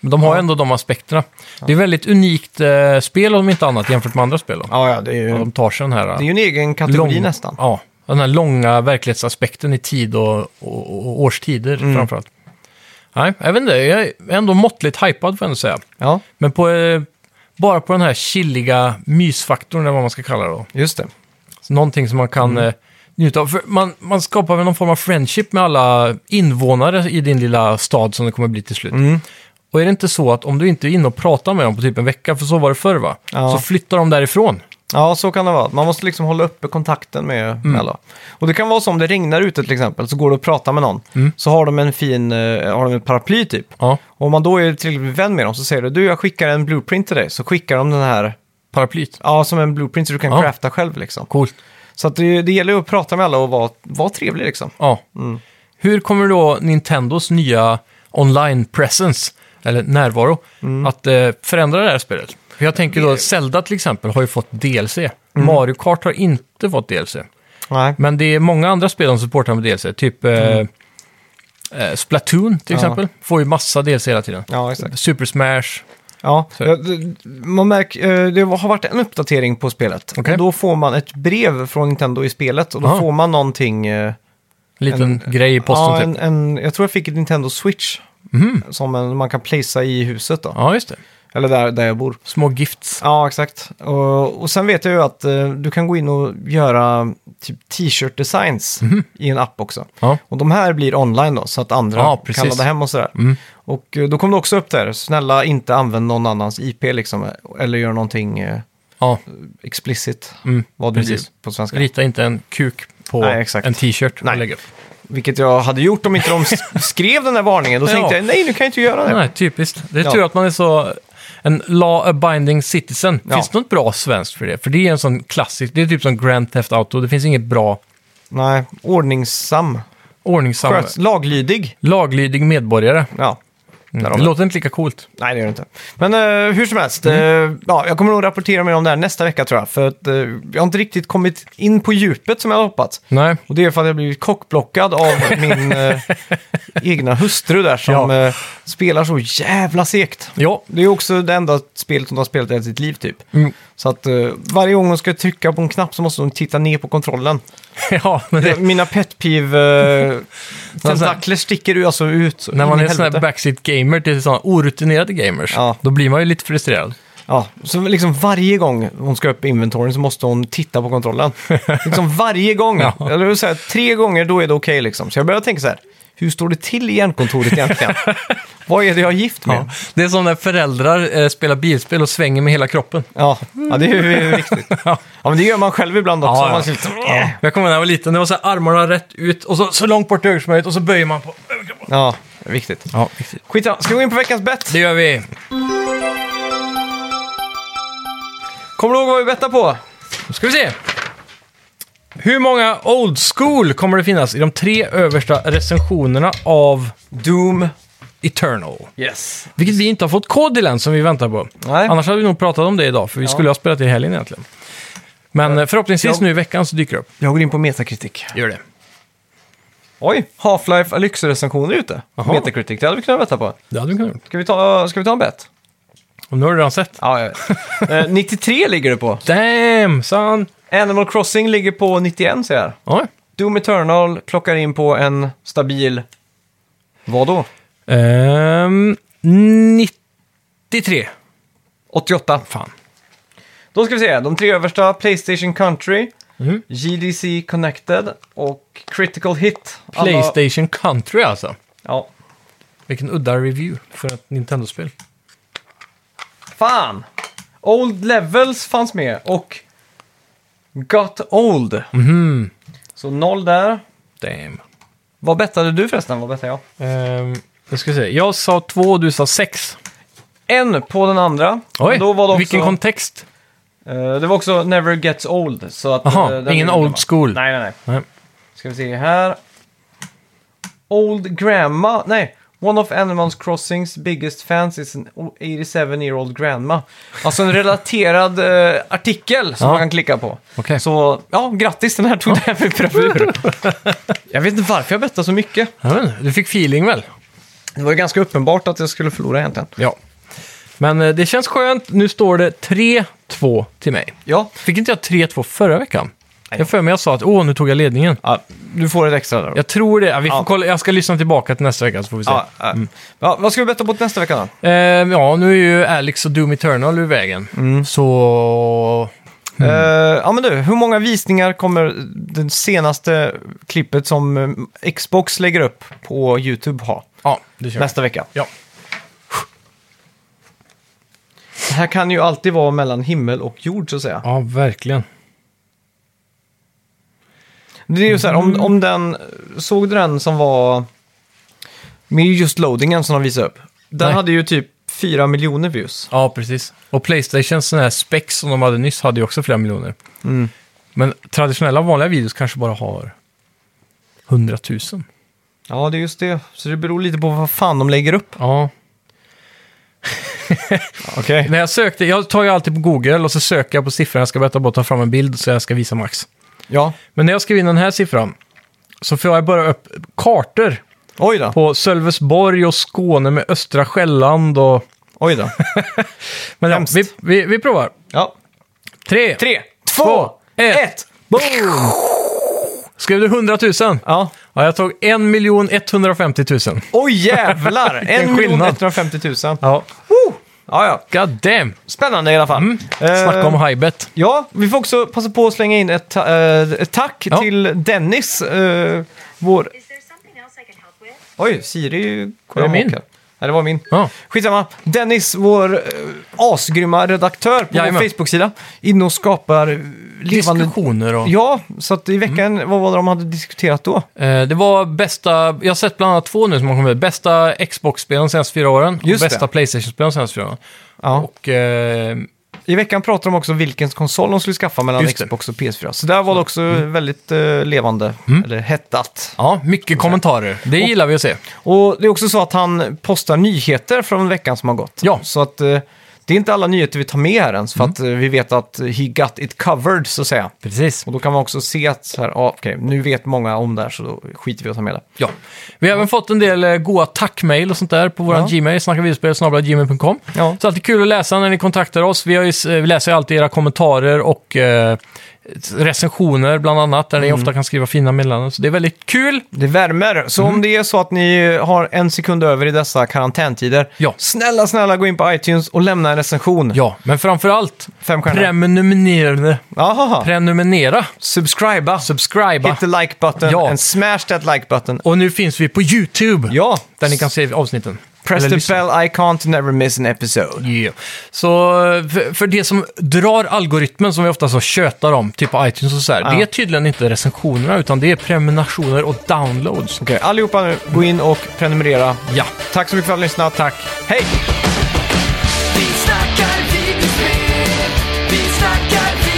S2: Men de har ändå de aspekterna. Det är väldigt unikt eh, spel om inte annat jämfört med andra spel. Då.
S1: Ja, ja, det är ju,
S2: Och De tar sig den här... eh,
S1: det är ju en egen kategori
S2: lång-
S1: nästan.
S2: Ja, den här långa verklighetsaspekten i tid och, och, och årstider
S1: Mm.
S2: framförallt. Nej, jag vet inte, jag är ändå måttligt hypad får jag ändå säga.
S1: Ja,
S2: Men på, eh, bara på den här chilliga mysfaktorn eller vad man ska kalla det då.
S1: just det.
S2: Så någonting som man kan
S1: Mm.
S2: eh, njuta av. För man, man skapar väl någon form av friendship med alla invånare i din lilla stad som det kommer bli till slut.
S1: Mm.
S2: Och är det inte så att om du inte är inne och pratar med dem på typ en vecka, för så var det förr va?
S1: Ja.
S2: Så flyttar de därifrån.
S1: Ja, så kan det vara. Man måste liksom hålla uppe kontakten med
S2: Mm.
S1: alla. Och det kan vara så om det regnar ute till exempel, så går du och pratar med någon.
S2: Mm.
S1: Så har de en fin, eh, har de en paraply typ.
S2: Ja,
S1: Och om man då är tillräckligt vän med dem så säger du, du jag skickar en blueprint till dig. Så skickar de den här,
S2: paraplyt.
S1: ja som en blueprint så du kan
S2: Ja.
S1: crafta själv liksom.
S2: Coolt.
S1: Så att det, det gäller ju att prata med alla och vara, vara trevlig liksom.
S2: Ja. Hur kommer då Nintendos nya online-presence, eller närvaro,
S1: Mm.
S2: att eh, förändra det här spelet? För jag tänker då, Zelda till exempel har ju fått DLC.
S1: Mm.
S2: Mario Kart har inte fått DLC.
S1: Nej.
S2: Men det är många andra spel som supportar med DLC, typ eh, eh, Splatoon till
S1: Mm. Ja.
S2: exempel. Får ju massa DLC hela tiden.
S1: Ja, exakt.
S2: Super Smash.
S1: Ja,
S2: Så-
S1: ja, det- man märker, eh, det har varit en uppdatering på spelet.
S2: Okej.
S1: Och då får man ett brev från Nintendo i spelet och då
S2: Aha.
S1: får man någonting. eh,
S2: En liten grej i posten
S1: ja,
S2: typ. Mhm.
S1: en, en, jag tror jag fick ett Nintendo Switch som en, man kan placea i huset då.
S2: Ja, just det.
S1: Eller där, där jag bor.
S2: Små gifts.
S1: Ja, exakt. Och, och sen vet jag ju att eh, du kan gå in och göra typ t-shirt designs i en app också.
S2: Mhm. Ja.
S1: Och de här blir online då, så att andra
S2: Ja, precis. Mm.
S1: kan ladda hem och sådär. Och eh, då kom det också upp där, snälla inte använd någon annans IP liksom, eh, eller gör någonting eh,
S2: Ja.
S1: explicit,
S2: Mm,
S1: vad det
S2: precis.
S1: blir på svenska.
S2: Rita inte en kuk på
S1: Nej, exakt.
S2: en t-shirt.
S1: Nej.
S2: och lägg upp.
S1: Vilket jag hade gjort om inte de s- skrev den där varningen. Då
S2: Ja.
S1: tänkte jag, nej nu kan jag inte göra det.
S2: Nej, typiskt. Det är
S1: Ja.
S2: tur att man är så... En law abiding citizen.
S1: Ja.
S2: Finns det något bra svenskt för det? För det är en sån klassisk, det är typ som Grand Theft Auto. Det finns inget bra
S1: Nej, ordningsam.
S2: ordningsam,
S1: Sköts, laglydig.
S2: laglydig medborgare.
S1: Ja. Där har
S2: Det
S1: vi det.
S2: låter inte lika coolt.
S1: Nej, det gör det inte. Men eh, hur som helst,
S2: Mm.
S1: eh, ja, jag kommer nog rapportera mer om det här nästa vecka tror jag. För att eh, jag har inte riktigt kommit in på djupet som jag hade hoppats.
S2: Nej.
S1: Och det är för att jag blivit kockblockad av min eh, egna hustru där som
S2: Ja.
S1: eh, spelar så jävla segt.
S2: Ja,
S1: Det är också det enda spelet hon har spelat i hela sitt liv typ.
S2: Mm.
S1: Så att eh, varje gång hon ska trycka på en knapp så måste hon titta ner på kontrollen.
S2: ja men det,
S1: Mina petpiv eh, tentakler sticker ju alltså ut. så
S2: när
S1: in
S2: man
S1: i
S2: är en sån här
S1: helvete.
S2: backseat gamer till sådana orutinerade gamers,
S1: Ja.
S2: då blir man ju lite frustrerad.
S1: Ja, så liksom varje gång hon ska upp i inventoryn så måste hon titta på kontrollen. liksom varje gång.
S2: Ja.
S1: Eller hur, så här, tre gånger, då är det okej liksom. Så jag började tänka så här, hur står det till i hjärnkontoret egentligen? Vad är det jag är gift med?
S2: Ja. Det är som när föräldrar eh, spelar bilspel och svänger med hela kroppen.
S1: Ja, ja det är ju viktigt. Ja, men det gör man själv ibland också.
S2: Ja, ja.
S1: Man ser lite, ja.
S2: Jag kommer ihåg när jag var liten, det var så här armarna rätt ut och så, så långt bort till höger som möjligt och så böjer man på överkroppen.
S1: ja, det är viktigt.
S2: Ja, riktigt.
S1: Skitsamma, ska vi gå in på veckans bett?
S2: Det gör vi.
S1: Kommer du ihåg vad vi bettade på?
S2: Då ska vi se. Hur många old school kommer det finnas i de tre översta recensionerna av
S1: Doom.
S2: Eternal?
S1: Yes.
S2: Vilket vi inte har fått kod till än, som vi väntar på.
S1: Nej.
S2: Annars hade vi nog pratat om det idag, för vi skulle ha spelat det i helgen egentligen. Men eh, förhoppningsvis
S1: Ja.
S2: nu i veckan så dyker det upp.
S1: Jag går in på Metacritic.
S2: Gör det.
S1: Oj, Half-Life Alyx-recensioner ute.
S2: Jaha.
S1: Metacritic, det hade vi kunnat betta på.
S2: Det hade vi kunnat gjort.
S1: Ska vi ta, ska vi ta en bett?
S2: Och nu har du redan sett.
S1: Ja, jag vet. Eh, 93 ligger det på.
S2: Damn, son!
S1: Animal Crossing ligger på 91 ser jag.
S2: Ja.
S1: Doom Eternal klockar in på en stabil... Vad då?
S2: Ehm, 93.
S1: 88.
S2: Fan.
S1: Då ska vi se. De tre översta, Playstation Country, GDC Connected och Critical Hit. Alla-
S2: Playstation Country alltså.
S1: Ja.
S2: Vilken udda review för ett Nintendo-spel.
S1: Fan! Old Levels fanns med och Got Old.
S2: Mhm.
S1: Så noll där.
S2: Damn.
S1: Vad bettade du förresten? Vad bettade jag?
S2: Um, jag ska se. Jag sa två och du sa sex.
S1: En på den andra.
S2: Oj,
S1: Och då var det också...
S2: vilken kontext.
S1: Eh, det var också Never Gets Old. Så att,
S2: Jaha,
S1: eh, den
S2: ingen
S1: är
S2: old
S1: gammal.
S2: school.
S1: Nej, nej, nej.
S2: Nej.
S1: Ska vi se här. Old Grandma. Nej. One of Animals Crossings biggest fans is an 87 year old grandma. Alltså en relaterad eh, artikel som
S2: Ja.
S1: man kan klicka på.
S2: Okej.
S1: Så, ja, grattis den här tog det här med bravur. jag vet inte varför jag bettade så mycket.
S2: Jag vet inte, Du fick feeling väl?
S1: Det var ju ganska uppenbart att jag skulle förlora egentligen.
S2: Ja. Men eh, det känns skönt. Nu står det 3-2 till mig.
S1: Ja,
S2: Fick inte jag 3-2 förra veckan? Jag för mig jag sa att åh, nu tog jag ledningen.
S1: ja du får ett extra där. då.
S2: Jag tror det. Ja, vi får
S1: Ja.
S2: kolla. Jag ska lyssna tillbaka till nästa vecka så får vi se.
S1: Ja,
S2: Ja,
S1: ja. Ja, vad ska vi betta på till nästa vecka då?
S2: ja nu är ju Alex och Doom Eternal ur vägen.
S1: Mm.
S2: Så...
S1: Eh, ja men du, hur många visningar kommer det senaste klippet som eh, Xbox lägger upp på YouTube ha
S2: Ja, det kör vi.
S1: nästa vecka?
S2: Ja.
S1: Det här kan ju alltid vara mellan himmel och jord så att säga.
S2: ja, verkligen.
S1: Det är ju så här, om, om den, såg du den som var med just loadingen som de visade upp? Den
S2: Nej.
S1: hade ju typ 4 miljoner views.
S2: Ja, precis. Och Playstations sån här specs som de hade nyss hade ju också flera miljoner. Mm. Men traditionella vanliga videos kanske bara har 100 000.
S1: Ja, det är just det. Så det beror lite på vad fan de lägger upp.
S2: Ja.
S1: Okej.
S2: När jag sökte, jag tar ju alltid på Google och så söker jag på siffran jag ska berätta på och ta fram en bild så jag ska visa max.
S1: Ja.
S2: Men när jag skrev in den här siffran så får jag bara upp kartor
S1: Oj då.
S2: på Sölvesborg och Skåne med östra Själland och...
S1: Oj då.
S2: Men ja,
S1: Hemskt.
S2: vi, vi, vi provar.
S1: Ja.
S2: Tre.
S1: Tre, två,
S2: ett.
S1: ett. Boom!
S2: Skrev du 100 000?
S1: Ja.
S2: Ja, jag tog 1 150 000.
S1: Oj jävlar!
S2: skillnad.
S1: 1 150 000.
S2: Ja.
S1: Woo! Ja, ja.
S2: God damn!
S1: Spännande i alla fall. Eh,
S2: Mm. Snacka om hajbet.
S1: Ja, vi får också passa på att slänga in ett, ta- eh, ett tack
S2: Ja.
S1: till Dennis, eh, vår...
S5: Is there something else I can help with?
S1: Oj, Siri...
S2: Var det min?
S1: Nej, det var min.
S2: Ja.
S1: Skitsamma. Dennis, vår eh, asgrymma redaktör på vår
S2: Jajamän.
S1: Facebook-sida, inne och skapar eh, levande...
S2: Diskussioner och...
S1: Ja, så att i veckan,
S2: Mm.
S1: vad var det de hade diskuterat då?
S2: Eh, Det var bästa, jag har sett bland annat två nu som har kommit ut. Bästa Xbox-spelen de senaste fyra åren och
S1: Just det.
S2: bästa Playstation-spelen de senaste fyra åren.
S1: Ja.
S2: Och eh,
S1: I veckan pratade de också vilken konsol de skulle skaffa mellan
S2: Just det. Mm.
S1: Xbox och PS4. Så där var det också väldigt eh, levande, eller hettat.
S2: ja, mycket kommentarer. Det gillar vi att se.
S1: Och det är också så att han postar nyheter från veckan som har gått.
S2: Ja. Mm.
S1: Så att eh, det är inte alla nyheter vi tar med här ens, för att eh, vi vet att he got it covered, så att säga.
S2: Precis.
S1: Och då kan man också se att så här, ah, okej, nu vet många om det här, så då skiter vi i att ta med det.
S2: Ja. Vi har även fått en del eh, goa tackmail och sånt där på vår
S1: Ja.
S2: Gmail, snackavideospel.gmail.com.
S1: Ja.
S2: Så alltid kul att läsa när ni kontaktar oss. Vi, har ju, s- eh, vi läser ju alltid era kommentarer och eh, recensioner bland annat, där
S1: Mm.
S2: ni ofta kan skriva fina meddelanden. Så det är väldigt kul.
S1: Det värmer, så
S2: Mm.
S1: om det är så att ni har en sekund över i dessa karantäntider,
S2: Ja.
S1: snälla, snälla gå in på iTunes och lämna en recension.
S2: Ja, men framför allt,
S1: Fem stjärnor.
S2: prenumerera.
S1: Aha.
S2: prenumerera.
S1: Subscriba.
S2: Subscriba.
S1: Hit the like button
S2: Ja.
S1: and smash that like button.
S2: Och nu finns vi på YouTube,
S1: Ja,
S2: där ni kan se avsnitten.
S1: press
S2: Eller
S1: the
S2: lyssna.
S1: bell icon to never miss an episode.
S2: Yeah. Så för, för det som drar algoritmen som vi ofta så tjötar om, typ på iTunes och så här, det är tydligen inte recensionerna utan det är prenumerationer och downloads.
S1: Okej, allihopa nu, gå in och prenumerera.
S2: Ja,
S1: Tack så mycket för att ni har lyssnat.
S2: tack.
S1: Hej!
S3: Vi snackar videospel, vi snackar videospel